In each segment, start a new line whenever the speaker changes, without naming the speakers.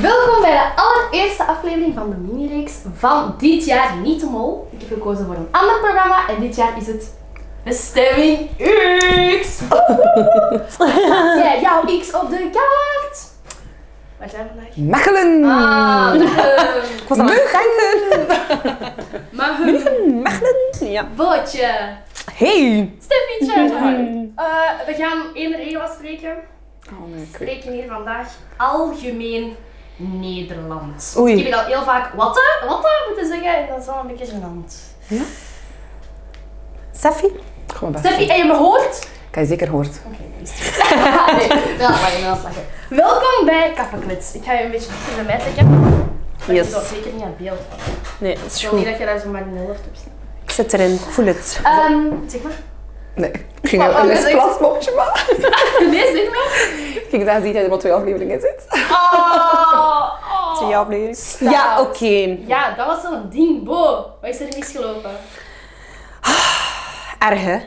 Welkom bij de allereerste aflevering van de mini-reeks van dit jaar Niet de Mol. Ik heb gekozen voor een ander programma en dit jaar is het Bestemming X. Zet jij jouw X op de kaart? Waar zijn we vandaag?
Mechelen!
Ah,
Ik was aan het denken.
maar hun
Mechelen? Ja.
bootje.
Hey!
Steffietje. Eh, we gaan één er één spreken.
Oh, nee, ik weet-
spreken hier vandaag algemeen Nederlands.
Oei.
Ik heb al heel vaak watte, watte moeten zeggen en dat is wel een beetje gênant.
Steffi? Gewoon best.
Steffi, en je me hoort?
Kan je zeker hoort.
Oké, dat is het. Nee, wel lachen, wel lachen. Welkom bij Kaffeklets. Ik ga je een beetje dichter bij mij trekken. maar
Yes.
Ik doe dat zeker niet aan beeld.
Nee, dat is
Ik wil niet dat je daar zomaar in de helft op staat.
Ik zit erin, ik voel het.
Ehm, zeg maar.
Nee, ik ging
Wat
een
was het?
lesplatsmopje maken.
Nee, zeg maar.
Ik ging daar zien dat er maar twee afleveringen in zit.
Oh, oh.
afleveringen? Ja, oké.
Ja, dat was zo'n ding. Bo, wat is er misgelopen?
Erg, hè?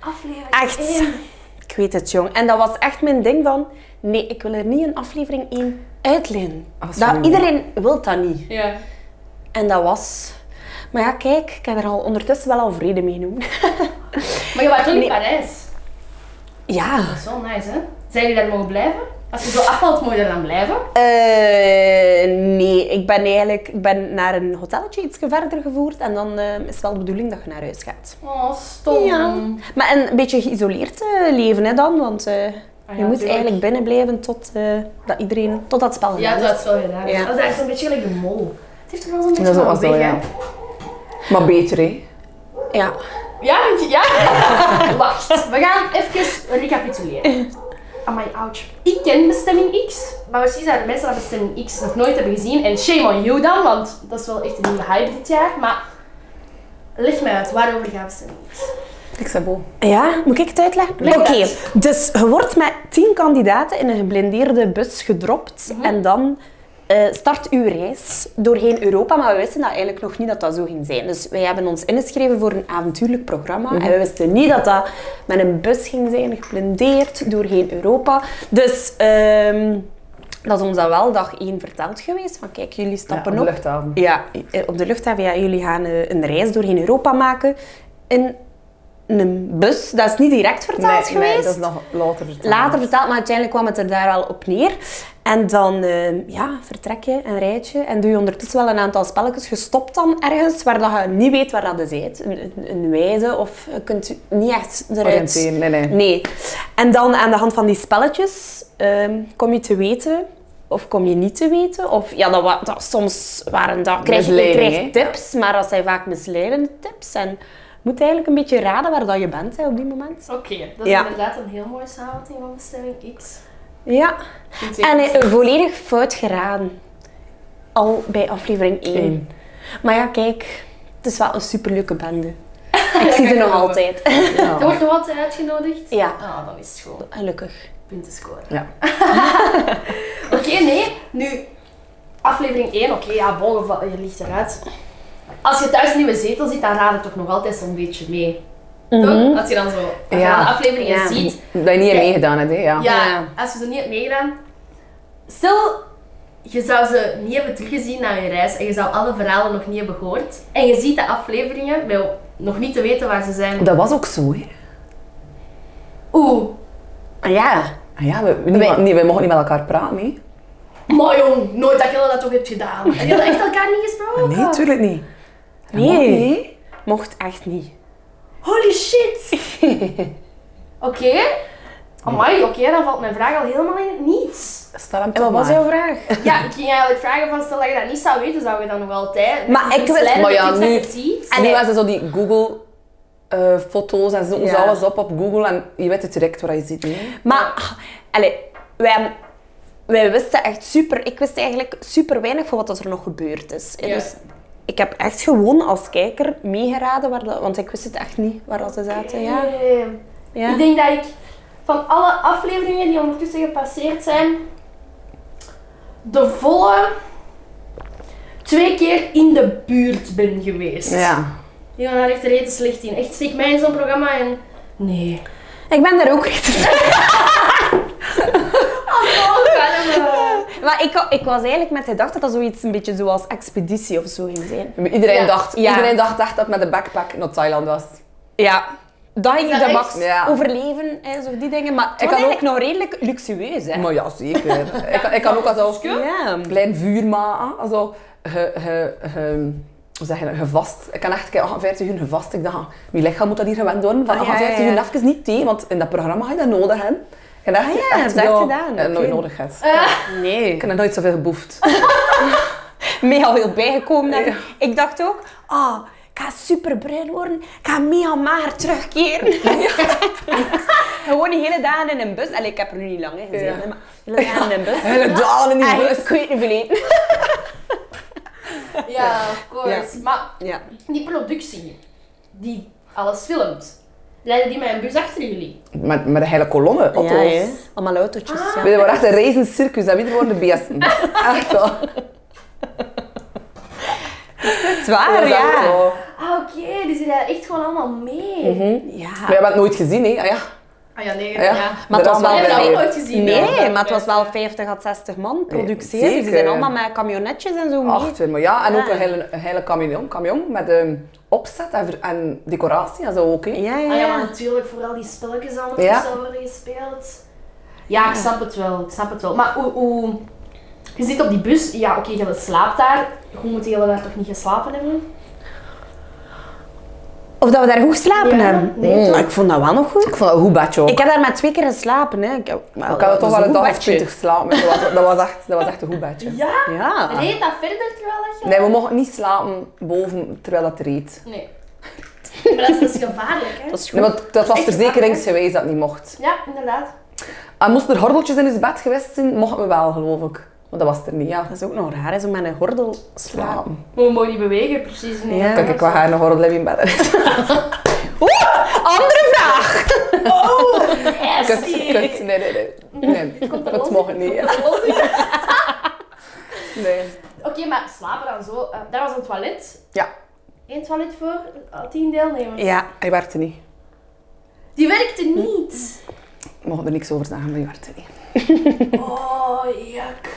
Aflevering
Echt.
één.
Ik weet het, jong. En dat was echt mijn ding van... Nee, ik wil er niet een aflevering in uitlenen. Dat, iedereen wil dat niet.
Ja.
En dat was... Maar ja, kijk, ik heb er al ondertussen wel al vrede mee genomen.
Maar je was ook in
Nee.
Parijs.
ja.
Dat is wel nice, hè? Zijn jullie daar mogen blijven? Als je zo afvalt, moet je daar dan blijven.
Eh, nee, ik ben eigenlijk ik ben naar een hotelletje iets verder gevoerd en dan eh, is het wel de bedoeling dat je naar huis gaat.
Oh, stom.
Maar en een beetje geïsoleerd eh, leven hè, dan, want eh,
Ah, ja,
je moet
tuurlijk.
eigenlijk binnen blijven tot, eh, dat iedereen, tot dat spel gedaan
Ja,
is.
dat is wel gedaan.
Ja.
Dat is echt een beetje gelijk de mol. Het heeft toch wel zo'n beetje
Dat is
van
wel zo,
weg,
ja.
hè?
Maar beter, hè?
Ja.
Ja, want je- ja. Wacht, we gaan even recapituleren. Amai, ouch. Ik ken Bestemming X, maar misschien zijn er mensen die Bestemming X nog nooit hebben gezien. En shame on you dan, want dat is wel echt een nieuwe hype dit jaar. Maar leg mij uit, waarover gaat Bestemming X?
Ik zei bo.
Ja, moet ik het uitleggen?
Leg
Oké,
het
dus je wordt met tien kandidaten in een geblindeerde bus gedropt en dan eh, start uw reis doorheen Europa. Maar we wisten dat eigenlijk nog niet dat dat zo ging zijn. Dus wij hebben ons ingeschreven voor een avontuurlijk programma en we wisten niet dat dat met een bus ging zijn, geblindeerd doorheen Europa. Dus ehm, dat is ons dan wel dag één verteld geweest. Van kijk, jullie stappen op.
ja, op de luchthaven.
Ja, eh, op de luchthaven. Ja, jullie gaan eh, een reis doorheen Europa maken in een bus. Dat is niet direct vertaald
nee,
geweest.
dat is nog later verteld.
Later vertaald, maar uiteindelijk kwam het er daar wel op neer. En dan eh, ja, vertrek je een rijtje en doe je ondertussen wel een aantal spelletjes. Je stopt dan ergens waar dat je niet weet waar dat is. heet. Een, een, een wijze of je kunt niet echt eruit...
Oriënteren, nee, nee.
Nee. En dan aan de hand van die spelletjes ehm, kom je te weten of kom je niet te weten. Of ja, dat, wa- dat, soms waren dat, krijg je, je
Misleiding,
krijgt
hè?
tips, maar dat zijn vaak misleidende tips. En je moet eigenlijk een beetje raden waar dat je bent hè, op die moment.
Oké, dat is
Ja.
inderdaad een heel mooie samenvatting van Bestemming X.
Ja.
Vind ik.
En eh, volledig fout geraden. Al bij aflevering 1.
Eén.
Maar ja, kijk, het is wel een superleuke bende. Ik
kan
zie
ik
ze nog
geloven.
altijd.
Er wordt nog wat uitgenodigd.
Ja,
Ah, dan is het gewoon
gelukkig.
punten scoren.
Ja.
Oké, nee. Nu, aflevering 1. Oké, ja, bolgen, je ligt eruit. Als je thuis een nieuwe zetel ziet, dan raad het toch nog altijd zo'n beetje mee. Toch? Als je dan zo als je
Mhm. Ja.
dan de afleveringen
Ja.
ziet.
Dat je niet
Ja.
hebt meegedaan hebt, hè? Ja.
Ja,
Ja.
als je ze niet hebt meegedaan. Stel, je zou ze niet hebben teruggezien na je reis en je zou alle verhalen nog niet hebben gehoord. En je ziet de afleveringen, wel nog niet te weten waar ze zijn.
Dat was ook zo, hè?
Oeh,
Ja.
Ah Ja, we, niemand-
Wij-
nee, we mogen niet met elkaar praten, hè?
maar jong, nooit dat je dat toch hebt gedaan. En je hebt echt elkaar niet gesproken.
Nee, tuurlijk niet. Dat
Nee.
mag niet, hè?
Mocht echt niet.
Holy shit! Oké. Amai, oké, dan valt mijn vraag al helemaal in het niets.
Stel hem
En
toch
wat was
maar.
jouw vraag?
Ja, ik ging eigenlijk vragen van, stel dat je dat niet zou weten, zou je dan nog altijd...
Maar ik weet-
weet...
maar ja,
dat
nu-
je het ziet.
En nu was er zo die Google... eh, foto's en ze zoeken ze
Ja.
alles op op Google en je weet het direct waar je ziet. Nee?
Maar, ah, allee, wij, wij wisten echt super... Ik wist eigenlijk super weinig van wat dat er nog gebeurd is.
Ja.
Dus ik heb echt gewoon als kijker meegeraden, waar dat, want ik wist het echt niet waar dat ze zaten. Ja.
Ehm,
Ja.
Ik denk dat ik van alle afleveringen die ondertussen gepasseerd zijn, de volle twee keer in de buurt ben geweest.
Ja.
Die waren daar echt rete slecht in. Echt, steek mij in zo'n programma en... Nee.
Ik ben daar ook recht
Oh,
Maar Maar ik, wa- ik was eigenlijk met de gedachte dat dat zoiets een beetje zoals expeditie of zo ging zijn.
Iedereen,
Ja.
dacht,
Ja.
iedereen dacht echt dat het met de backpack naar Thailand was.
Ja. Dat ging
dat
de
echt?
max
Ja.
overleven en zo die dingen. Maar het
Ik
was
had ook-
eigenlijk nog redelijk luxueus, hè.
Maar ja, zeker. ik, ik kan ook als al
Ja.
een klein vuur maken. Also, ge, ge, ge, hoe zeg je dat, gevast. Ik kan echt kijken, ah, 40 uur gevast. Ik dacht, ah, mijn lichaam moet dat hier gewend worden. Van,
Ah,
ah,
ja,
40
ja,
uur
ja.
even niet thee, want in dat programma ga je dat nodig hebben. En dat
Ah, ja, dat heb je gedaan,
eh, nooit
oké.
nodig hebt.
Nee.
Ik heb nog nooit zoveel geboefd.
mega veel bijgekomen. En Ik dacht ook, ah, ik ga superbruin worden, ik ga mega mager terugkeren. Gewoon de hele dagen in een bus. Allee, ik heb er nu niet lang in gezeten,
Ja.
maar de hele dagen in een bus.
Hele dagen in die
Eigenlijk,
bus.
Ik weet niet verleden.
Ja, of course. Maar
Ja.
die productie die alles filmt, leidde die met een bus achter jullie?
Met, met een hele kolonne, auto's.
Ja, hè. Allemaal autootjes, ja.
Weet je, we waren echt een reizend circus, dat iedereen de beesten. Echt wel.
Ah,
Dat
Zwaar,
was echt
ja.
wel.
Ah, oké, die zitten daar echt gewoon allemaal mee.
Mhm.
Maar
Ja.
jij hebt het nooit gezien, hè? Ah, ja.
Ah ja, nee,
Ah, ja.
Maar het was
Drama
wel...
heb je
bij-
dat ook nooit gezien?
Nee,
hè?
maar het was wel 50 à 60 man productie. hè.
zeker.
Dus die zijn allemaal met camionetjes en zo mee.
Acht weer, maar ja. En
Ja.
ook een hele, een hele camion, camion met ehm, opzet en, ver- en decoratie en zo ook. hè.
Ja, ja,
Ah ja,
ja.
maar natuurlijk, vooral die spelletjes allemaal
Ja.
die zo worden gespeeld. Ja, ik snap het wel, ik snap het wel. Maar hoe, hoe... Je zit op die bus, ja oké, je slaapt daar. Hoe moet je daar toch niet geslapen hebben?
Of dat we daar goed geslapen
Ja,
hebben.
nee,
Mm,
toch?
ik vond dat wel nog goed.
Ik vond dat een goed bedje ook.
Ik heb daar maar twee keer geslapen. Hè. Ik, maar,
Ik had toch wel een dag of twintig
twintig.
slapen. maar Dat was, dat, was echt, dat was echt een goed bedje.
Ja?
Ja.
Reed dat verder terwijl dat je...
Nee, we mochten niet slapen boven terwijl dat reed.
Nee. Maar dat is, dat is gevaarlijk, hè?
Dat is goed.
Nee, want dat was
Echt waar,
verzekeringsgewijs dat niet mocht.
Ja, inderdaad.
En moesten er hordeltjes in ons bed geweest zijn, mochten we wel, geloof ik. Want dat was er niet, ja.
dat is ook nog raar, hè, zo met een gordel slapen.
Slapen.
Maar we mogen niet bewegen, precies. Nee.
Ja.
Kijk, ik wel haar een gordel hebben in bed.
Oeh, andere vraag!
Yes,
Kut,
die-
kut. Nee, nee, nee. Nee,
Komt er
dat
los.
mocht niet. hè. Nee.
Oké, maar slapen dan zo. Eh, daar was een toilet.
Ja,
Eén toilet voor eh, tien deelnemers.
Ja.
hij werkte niet.
Die werkte niet.
Ik mocht er niks over zeggen, maar hij werkte niet.
Oh, jak.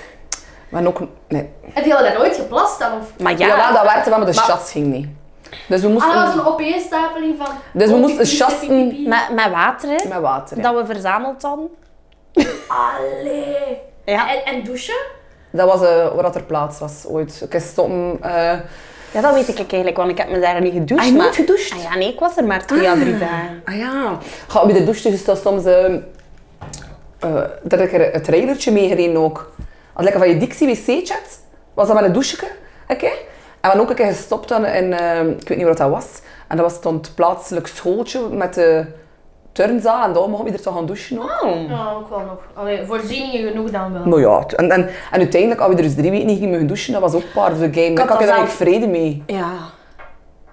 Maar ook, nee.
En die hadden daar nooit geplast dan? Of...
Maar ja,
Ja, dat werkte wel, maar de
Maar-
chats ging niet. Dus we moesten,
Ah, dat was een opeenstapeling van...
Dus we
oh,
moesten
pipi, pipi,
chasten
pipi.
met, met water, hè,
met water. ja.
dat we verzameld hadden.
Allee.
Ja.
En, en douchen?
Dat was eh, waar dat er plaats was ooit. Ik is stoppen. eh
ja, dat weet ik eigenlijk, want ik heb me daar niet gedoucht.
Ah, je
maar...
nooit gedoucht?
Ah, ja, nee, ik was er maar twee à drie dagen.
ah ja, ga bij de douche dus dat soms. eh eh, dat ik er het trailertje mee gereden ook. Als lekker van je Dixie wc-chat was dat met een doucheke. Oké. En we hadden ook een keer gestopt dan in, eh, ik weet niet wat dat was. En dat was dan het plaatselijk schooltje met de turnzaal. En daar mocht je er toch gaan douchen ook.
Oh.
Ja, ook wel nog. Allee, voorzieningen genoeg dan wel.
Nou ja, t- en, en, en uiteindelijk, als we er dus drie weken niet gingen mogen douchen, dat was ook part of the game. Ik
had
had
dat
daar
zelf-
niet vrede mee.
Ja.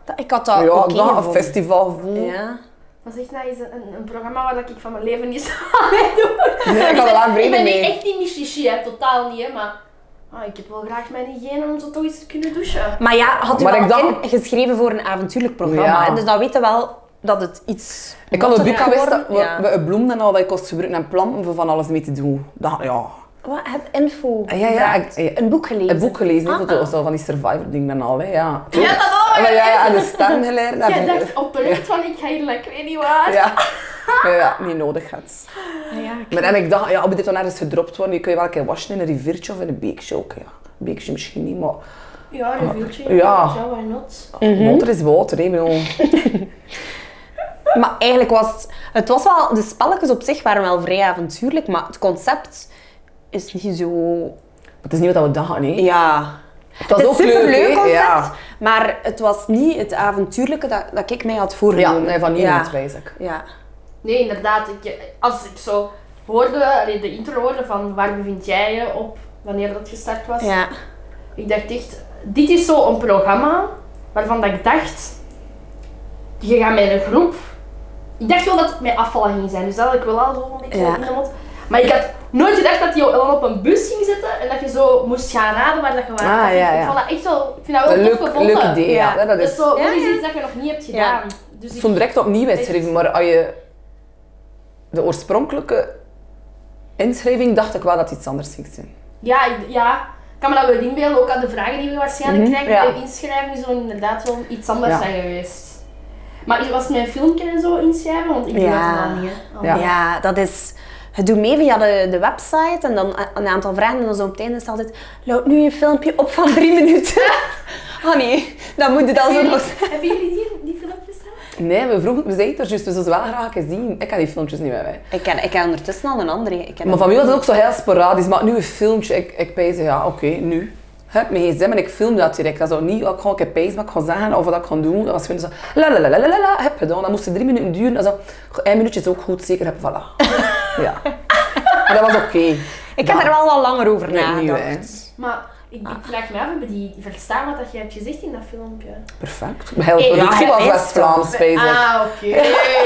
Dat, ik had dat
ja,
oké
ik dacht, een
gevonden.
festivalgevoel.
Ja.
Dat is echt nou eens een, een programma waar ik van mijn leven niet zou aan doen. Dus
Nee, ik had er wel
Ik
vrede
ben
mee.
niet echt niet mystici, hè. totaal niet, hè, maar ah, ik heb wel graag mijn hygiëne om zo toch eens te kunnen douchen.
Maar ja, had u
Maar
wel
ik dacht-
in- geschreven voor een avontuurlijk programma.
Ja.
hè, Dus dan weten we wel dat het iets
Ik had
matter
een boek
kan
geweest dat
worden.
we,
Ja.
we een bloem en al dat je kost gebruiken en planten voor van alles mee te doen. Dat, ja.
Wat? Het info?
Ah, ja, ja, ik- ja.
Een boek gelezen?
Een boek gelezen,
Ah,
ah,
ah.
dat zo van die survivor dingen en al. Hè. Ja.
Ja, dat ook.
Maar ja, ja, en de stem geleerd. en-
Jij dacht oprecht van ik ga hier like, ik weet niet waar.
Ja. Ja, ja, niet nodig had. Maar en ik dacht, Ah, ja, op dit dan ergens gedropt worden, je kun je wel een keer wassen in een riviertje of in een beekje ook. Ja. Beekje misschien niet, maar
Ja, een vuurtje.
Ja.
Ja, why not?
water is water. Hè. Ik bedoel,
Maar eigenlijk was het- het... Was wel, de spelletjes op zich waren wel vrij avontuurlijk, maar het concept is niet zo...
het is niet wat we dachten. Hè.
Ja...
Het
Het
was
is
ook
superleuk
leuk, hè.
concept,
Ja.
maar het was niet het avontuurlijke dat, dat ik mij had
ja,
voorgenomen.
nee, van niemand, wijs ik.
Mm. Ja.
Nee, inderdaad. Ik, als ik zo hoorde, allee, de intro hoorde van waar bevind jij je op, wanneer dat gestart was.
ja.
Ik dacht echt, dit is zo'n programma waarvan dat ik dacht, je gaat met een groep. Ik dacht wel dat het met afvallen ging zijn, dus dat had ik wel al zo een beetje
Ja.
in de mond. Maar ik had nooit gedacht dat je dan op een bus ging zitten en dat je zo moest gaan raden waar dat je was.
Ah,
dat vind
ja,
ik,
ja.
ik vond dat echt wel, ik vind dat wel
Een
tof
leuk,
gevonden.
leuk idee, ja.
Ja.
Dat
Dat is
is
zo,
Ja,
dat is
ja.
iets dat je nog niet hebt gedaan. Dus ik,
stond direct opnieuw inschrijven, maar als je de oorspronkelijke inschrijving dacht ik wel dat het iets anders ging zijn.
Ja, ik- ja. Ik kan me dat wel inbeelden, ook aan de vragen die we waarschijnlijk krijgen
ja.
bij inschrijving, zullen inderdaad wel iets anders
Ja.
zijn geweest. Maar was het mijn filmpje en zo inschrijven? Want ik doe
Ja.
dat dan niet. hè. Oh.
Ja.
Ja. dat is... Het doet mee via de, de website en dan a- een aantal vragen en dan zo op het einde is het altijd... Loud nu je filmpje op van drie minuten. oh nee, dan moet je dat zo
Hebben
nog...
jullie- Hebben jullie die, die filmpjes dan?
Nee, we vroegen, we zeiden het er juist, we zouden ze wel graag eens zien. Ik had die filmpjes niet bij mij.
Ik ken, ik ken ondertussen al een andere. Ik ken
Maar van mij was het ook zo heel sporadisch. Maar nu een filmpje, ik, ik pijs, ja, oké, nu. Heb me gsm en ik film dat direct. Dat is ook niet, ik ga een keer pijs, maar ik ga zeggen of wat ik ga doen. Dat was gewoon zo, la la la la la la, la, heb gedaan. Dat moest drie minuten duren. Also, een minuutje is ook goed, zeker heb, voilà. ja. Maar dat was oké.
ik heb er wel al langer over
Nee,
nagedacht.
niet wij.
Maar ik, ik vraag me af, hebben die verstaan wat dat jij hebt gezegd in dat filmpje?
Perfect. Heel
Eh,
Ja,
productie was
best
West-Vlaams, spijs.
Ah, oké.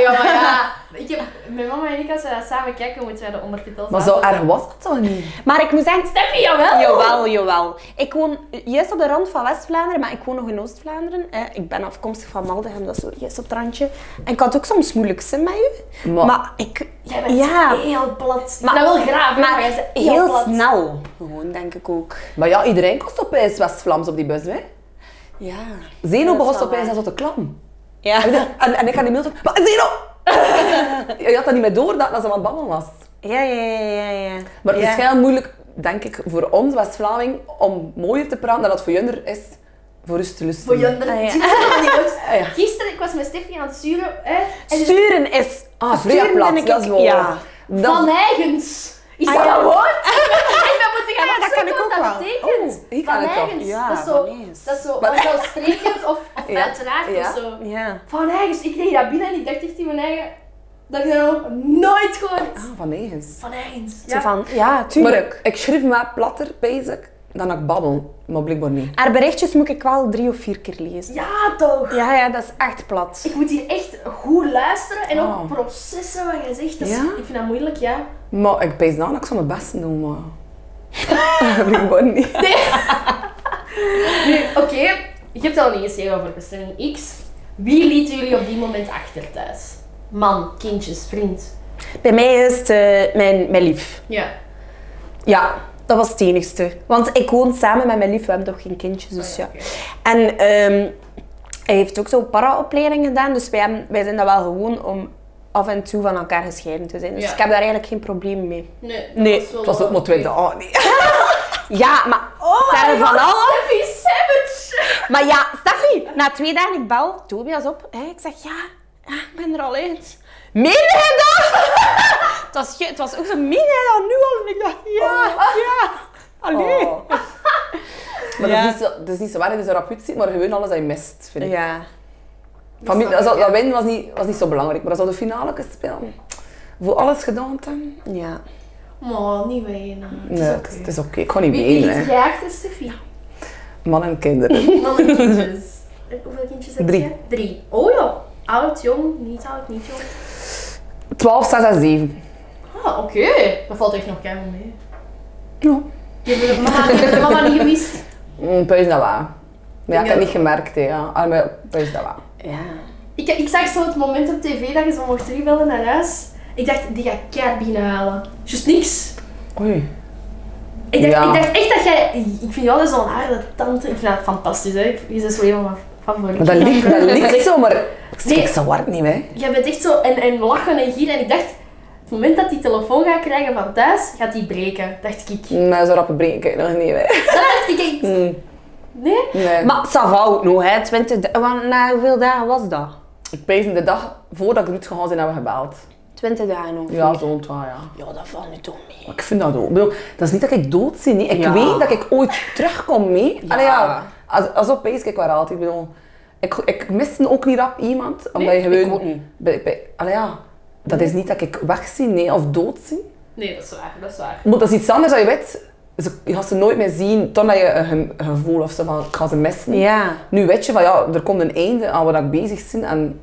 ja, maar ja. Ik heb, mijn mama en ik, als we dat samen kijken, moeten wij de ondertitels
Maar zo erg was dat toch niet?
Maar ik moet zeggen...
Steffi, jawel!
Jawel, jawel. Ik woon juist op de rand van West-Vlaanderen, maar ik woon nog in Oost-Vlaanderen. Eh, Ik ben afkomstig van Maldegem, dat is zo juist op het randje. En ik had ook soms moeilijk zin met u.
Maar-
Maar, ik...
Jij bent
ja,
heel plat. Maar,
Maar-
dat wel graag, hè, maar,
maar
jij bent heel,
heel
plat.
snel. Gewoon, denk ik ook.
Maar ja, iedereen kost opeens West-Vlaams op die bus, hè?
Ja.
Zeno
Dat is
begon
wel
opeens
waar.
aan zo te klappen.
Ja.
En, en ik had die mail terug. Maar Zeno! je had dat niet meer door dat, dat ze aan het babbelen was.
Ja, ja, ja, ja. ja.
Maar het
ja.
is heel moeilijk, denk ik, voor ons West-Vlaming om mooier te praten dan dat voor Junder is voor rust te lusten.
Voor Jonder.
Ah, ja.
Zie je dat van die jongens?
Ah, ja.
Gisteren, ik was met Steffi aan het zuren. Hè, en ze-
Sturen is...
Ah,
sturen
vrij plat,
ben ik-
dat is wel.
Ja.
Dat,
van eigens. Is
Ah,
dat
ja.
een woord? Ik ben moeten gaan
Ah, ja, dat kan
opzoeken
ik ook
wat dat
wel.
betekent.
Oh, ik kan
van
het toch.
eigens.
Ja,
dat is zo,
van eigens.
dat is zo,
Maar-
of zo sprekend of, of
Ja.
uiteraard
Ja.
of zo.
Ja.
Van eigens. Ik kreeg dat binnen en ik dacht echt in mijn eigen... Dat ik dat nog nooit gehoord.
Ah, van nergens.
Van eigens.
Zo
Ja.
van, ja,
Maar
tuurlijk.
ik, ik schrijf mij platter, basic, dan ik babbel. Maar blijkbaar niet.
Haar berichtjes moet ik wel drie of vier keer lezen.
ja, toch.
Ja, ja, dat is echt plat.
Ik moet hier echt goed luisteren en ook
Oh.
processen wat je zegt. Dat is-
Ja?
Ik vind dat moeilijk, ja.
Maar ik pees na dat ik zou mijn best doen, maar... blijkbaar niet.
Nu, oké, je hebt al niet gezegd over bestemming X. Wie lieten jullie op die moment achter thuis? Man, kindjes, vriend.
Bij mij is het eh, mijn, mijn lief.
Ja.
Ja, dat was het enigste. Want ik woon samen met mijn lief, we hebben toch geen kindjes,
Oh
dus ja. En ehm, hij heeft ook zo'n para-opleiding gedaan, dus wij, hebben, wij zijn dat wel gewoon om af en toe van elkaar gescheiden te zijn. Dus
Ja.
ik heb daar eigenlijk geen probleem mee.
Nee, dat
Nee,
was wel...
Het was ook maar twee dagen. Oh, nee.
Ja, maar oh
my
van al.
Steffi Savage!
Maar ja, Steffi, na twee dagen ik bel Tobias op. Hè, ik zeg ja, ja, ik ben er al uit. Meen je dat? het, was, ge- het was ook zo, meen jij dat nu al? En ik dacht, ja, ja. Allee.
Oh. Maar
Ja.
dat, is niet zo, dat is niet zo waar, dat is een rapuut zit, maar gewoon alles dat je mist, vind ik.
Ja.
Van, dat,
snap
dat,
ik, ja.
winnen was niet, was niet zo belangrijk, maar dat zou de finale kunnen spelen. Voor alles gedaan hebben?
Ja.
Maar niet wenen.
Nee, het is- het is oké. Ik ga niet
Wie wie
wenen.
liet
hè.
jij achter, Steffi?
Man en kinderen.
Man en kindjes. En Hoeveel kindjes heb
Drie.
je? Drie. Oh ja. Oud, jong, niet oud, niet jong.
12, 6 en 7.
Ah, oké. Dat valt echt nog keihard mee.
Ja.
Je hebt de mama, je hebt de mama niet gemist.
Mm, puis dat wel. Maar ja,
Ja.
ik heb het niet gemerkt, hè. Ja. Ah, Maar puis dat wel.
Ja.
Ik, ik zag zo het moment op tv dat je zo mocht terugbellen naar huis. Ik dacht, die gaat keihard binnenhalen. Just niks.
Oei.
Ik dacht,
Ja.
ik dacht echt dat jij... Ik vind jou dus zo'n harde tante. Ik vind dat fantastisch, hè. Ik- Je bent zo helemaal favoriet.
Maar dat ligt, dat ligt
Zeg,
zo, maar...
Nee.
Ik zo hard niet, hè.
Jij bent echt zo... En, en lachen en gieren. En ik dacht, het moment dat die telefoon gaat krijgen van thuis, gaat die breken. Dacht ik.
Nee, zo rappe breken kan ik nog niet, hè.
Dat dacht ik echt. Nee?
Nee.
Maar ça va ook nog, hè. 20, da- want na hoeveel dagen was dat?
Ik pijs de dag voordat ik eruit gegaan zijn, hebben we gebeld.
20 dagen ongeveer.
Ja, zo'n twaalf, ja.
Ja, dat valt nu toch mee.
Maar Ik vind dat ook. Ik bedoel, dat is niet dat ik dood zie. Nee. Ik
Ja.
weet dat ik ooit terugkom mee. Allee, ja. Als, als op ik waar altijd. Ik bedoel, ik, ik miste ook niet rap iemand. Omdat
Nee,
je gewoon,
ik ook niet.
Bij, bij, allee, ja. Dat is niet dat ik weg zie, nee, of dood zie.
Nee, dat is waar. Dat is waar.
Maar dat is iets anders dat je weet. Ze- Je gaat ze nooit meer zien, totdat je een ge- een gevoel of zo van, ik ga ze missen.
Ja.
Nu weet je van, ja, er komt een einde aan waar ik bezig ben. En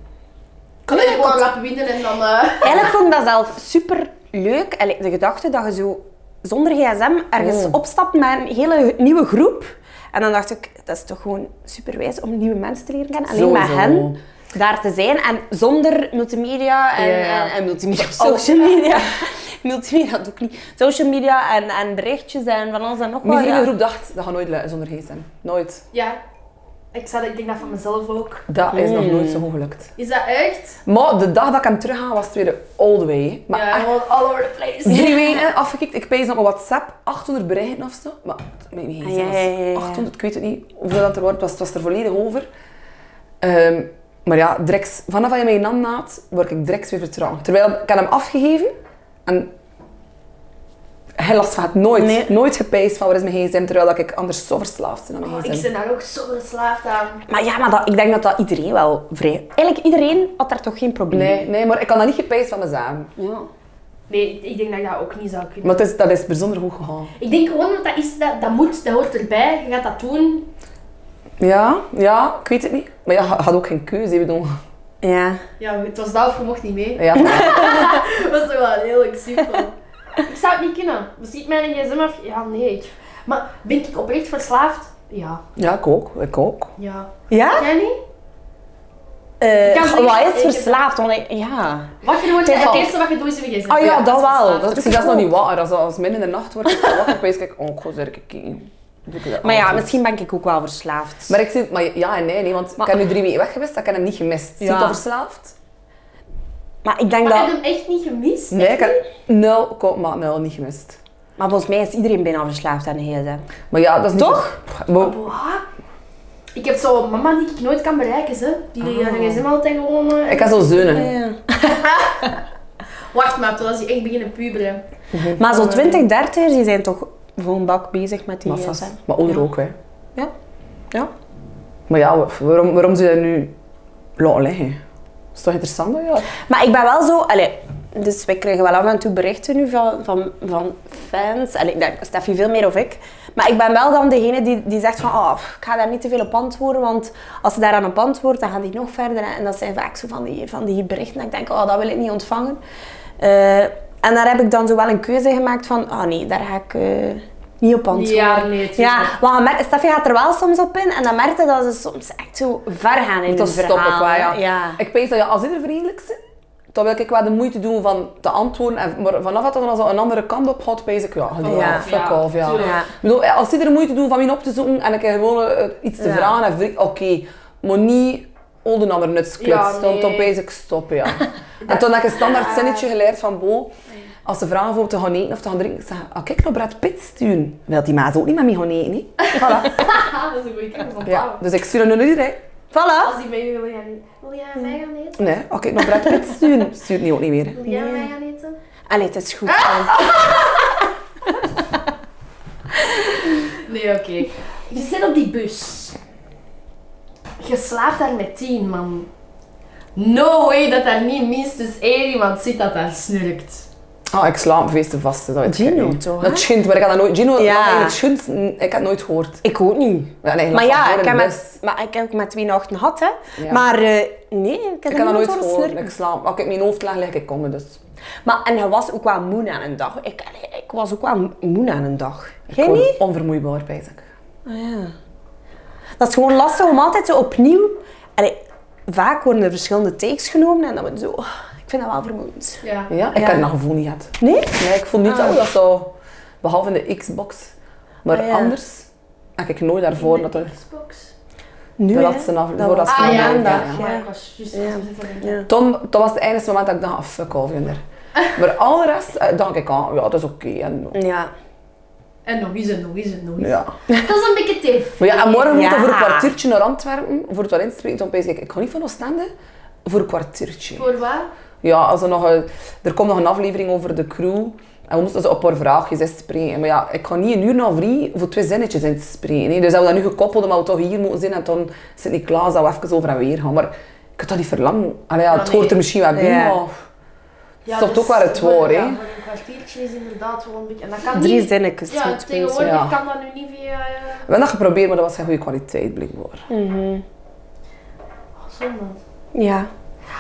Kan je gewoon lappen winnen en dan... eh,
Eigenlijk vond ik dat zelf super leuk. De gedachte dat je zo zonder gsm ergens
Mm.
opstapt met een hele nieuwe groep. En dan dacht ik, dat is toch gewoon super wijs om nieuwe mensen te leren kennen. Alleen
Sowieso.
met hen daar te zijn en zonder multimedia en,
Ja, Oh. ja.
en, en multimedia op social media. multimedia dat ook niet. Social media en, en berichtjes en van alles en nog
Mijn
wat. ja.
vriendengroep dacht, dat gaat nooit lukken zonder gsm. Nooit.
Ja. Ik, zou, ik denk dat van mezelf ook.
Dat is nog
Mm.
nooit zo goed gelukt.
Is dat echt?
Maar de dag dat ik hem terugga was het weer de all the way. Maar
ja,
echt
gewoon all over the place.
drie weken afgekikt. Ik pees op mijn WhatsApp 800 berichten of zo. Maar mijn gsm
Ah, ja, ja, ja, ja.
was 800, ik weet het niet hoeveel dat er wordt. Het was, het was er volledig over. Ehm, maar ja, direct, vanaf dat je mij nam naadt, word ik direct weer vertrouwd. Terwijl ik had hem afgegeven en hij last van het nooit,
Nee.
nooit gepijst van waar is mijn gsm, terwijl dat ik anders zo verslaafd ben aan mijn
Oh,
gsm.
ik ben daar ook zo verslaafd aan.
Maar ja, maar dat, ik denk dat dat iedereen wel vrij... Eigenlijk iedereen had daar toch geen probleem
Nee, nee, maar ik kan dat niet gepijst van mezelf.
mee. Ja.
Nee, ik denk dat ik dat ook niet zou kunnen.
Maar het is, dat is bijzonder goed gegaan.
Ik denk gewoon dat dat is, dat, dat moet, dat hoort erbij. Je gaat dat doen.
Ja, ja, ik weet het niet. Maar ja, je had ook geen keuze, hè, bedoel.
Ja.
Ja, het was dat of je mocht niet mee.
Ja,
Dat was toch wel heel erg simpel. ik zou het niet kunnen. Misschien mijn gsm af. Ja, nee. ik- Maar ben ik oprecht verslaafd? Ja.
ja ik ook. Ik ook.
Ja.
Ja?
Jij niet?
Eh,
kan
goh,
niet-
wat is
ik-
verslaafd? Want ik- ja.
Wat je wordt,
Het is
het
al-
eerste wat je doet is je gsm.
Ah ja, dat wel.
Dat,
Dat
ik
is
zie dat is nog
goed.
niet waar. Als, als midden in de nacht wordt ik wakker, dan kijk ik, oh, ik ga eens even kijken. Doe ik dat
Maar ja,
altijd.
misschien ben ik ook wel verslaafd.
Maar ik zie, maar ja en nee, nee want ik heb nu drie weken weg geweest, dat ik heb hem niet gemist. Zie je
Ja.
dat verslaafd?
Maar ik denk
Maar
dat...
heb je hem echt niet gemist?
Nee, ik
Echt niet?
heb 0,0 niet gemist.
Maar volgens mij is iedereen bijna verslaafd aan de gsm.
Maar ja, dat is niet-
Toch?
Maar-
Boah. Ik heb zo'n mama die ik nooit kan bereiken, ze. Die oh. haar gsm altijd gewoon... eh,
Ik heb zo'n zeunen.
Ja.
Wacht maar, totdat ze echt beginnen puberen.
Maar zo'n 20, 30 die zijn toch gewoon bak bezig met die
Maar, vast.
gsm.
maar ouder ook, hè.
Ja. Ja.
Maar ja, wa- waarom, waarom zou je dat nu laten liggen? Dat is toch interessant, ja?
Maar ik ben wel zo... Allee, dus wij krijgen wel af en toe berichten nu van, van, van fans. En ik denk, Steffi veel meer of ik. Maar ik ben wel dan degene die, die zegt van... Oh, pff, ik ga daar niet te veel op antwoorden. Want als ze daaraan op antwoordt, dan gaat die nog verder. En dat zijn vaak zo van die, van die berichten. Dat ik denk, oh, dat wil ik niet ontvangen. Eh, en daar heb ik dan zo wel een keuze gemaakt van... Ah nee, daar ga ik... eh, niet op antwoorden.
Ja, nee, tuurlijk.
ja, want je merkt- Steffi gaat er wel soms op in en dan merkte dat ze soms echt zo ver gaan in
Dat
hun
stop ik
verhaal.
wel,
hè.
ja.
ja.
Ik weet dat je als ieder vriendelijk zit, dan wil ik wel de moeite doen van te antwoorden. En, maar vanaf dat dan zo een andere kant op gaat, weet ik, ja, ja,
Oh, Ja.
fuck
Ja,
off, ja.
tuurlijk.
Ja.
Ik bedoel, eh, als ieder moeite doen van mij op te zoeken en ik heb gewoon eh, iets te
Ja.
vragen en vind ik, oké, maar niet al de andere nutskluts.
Ja,
Dan, dan
nee.
weet ik, stop, ja. en toen heb ik een standaard zinnetje geleerd van Bo. Als ze vragen voor te gaan eten of te gaan drinken, ik zeg ik, kijk naar Brad Pitt sturen. Wil die maat ook niet met mij gaan eten, hè? Voilà.
Ah, dat is een goede kans om
ja. Dus ik stuur hem nu naar iedereen.
Voilà.
Als die mee wil gaan... Wil jij aan mij gaan eten?
Nee, oké, naar Brad Pitt sturen. Stuurt niet ook niet meer, hè.
Wil jij aan mij gaan eten?
Allee, het is goed. hè.
Nee, oké. Je zit op die bus. Je slaapt daar met tien man. No way dat daar niet minstens één iemand zit dat daar snurkt.
Ah, ik sla op feesten vast. hè, Dat weet ik
Gino,
niet.
toch, hè?
Dat schint, maar ik had dat nooit... Gino,
Ja.
ja. het schint, mm, ik had het nooit gehoord.
Ik ook niet.
Ja, nee,
Maar
dat was
ja,
voor
ik
in
heb,
de
met,
bus.
maar ik heb ook met twee nachten gehad, hè.
Ja.
Maar eh, nee, ik heb
Ik had dat
nooit
nooit
horen
gehoord.
snurken.
Ik sla Als ik mijn hoofd leg, leg ik komen, dus...
Maar, en hij was ook wel moe aan een dag. Ik, allee, ik was ook wel moe aan een dag. Jij
Gewoon
niet?
Onvermoeibaar, bijzak.
Ah, ja. Dat is gewoon lastig om altijd zo opnieuw... Allee, vaak worden er verschillende takes genomen en dan wordt zo... oh, ik vind dat wel vermoeiend.
Ja.
Ja, ik
Ah, Ja.
heb dat gevoel niet gehad.
Nee?
Nee, ik voel niet dat dat zo... Behalve in de Xbox. Maar
Ah, ja.
anders... Heb ik nooit daarvoor dat er...
Xbox.
Nu,
De
hè.
laatste af-
Dat
voor
was
dat
Ah ja,
maandag,
ja. Maar ik was juist
Ja.
aan het denken.
ja.
Toen, dat was het enige moment dat ik dacht, ah, fuck off, kinder. Maar al de rest eh, dacht ik, ah, ja, dat is oké. en,
Ja.
En nog eens en nog eens en nog eens.
ja.
Dat is een beetje tef.
Maar ja, en morgen moeten we
Ja.
voor een kwartiertje naar Antwerpen, voor het wel inspreken. Toen denk ik, ik ga niet van Oostende, voor een kwartiertje.
Voor waar?
Ja, als er, nog een, er komt nog een aflevering over de crew. En we moesten ze op haar vraagjes inspreken. Maar ja, ik ga niet een uur na drie voor twee zinnetjes inspreken. Hè. Dus hebben we dat nu gekoppeld, omdat we toch hier moeten zijn. En dan zit Niklaas dat we even over en weer gaan. Maar ik had dat niet verlangen. Allee, ja,
Ja,
het hoort er
nee.
misschien wel bij,
Ja.
maar... Stopt ook waar het
voor-
waar, hè?
ja, voor een kwartiertje is inderdaad wel een beetje... En dat kan
Drie
niet...
zinnetjes
Ja,
moet mensen.
tegenwoordig
ja.
kan dat nu niet via... eh,
We hebben dat geprobeerd, maar dat was geen goede kwaliteit, blijkbaar.
oh, zonde.
Mhm. Ja.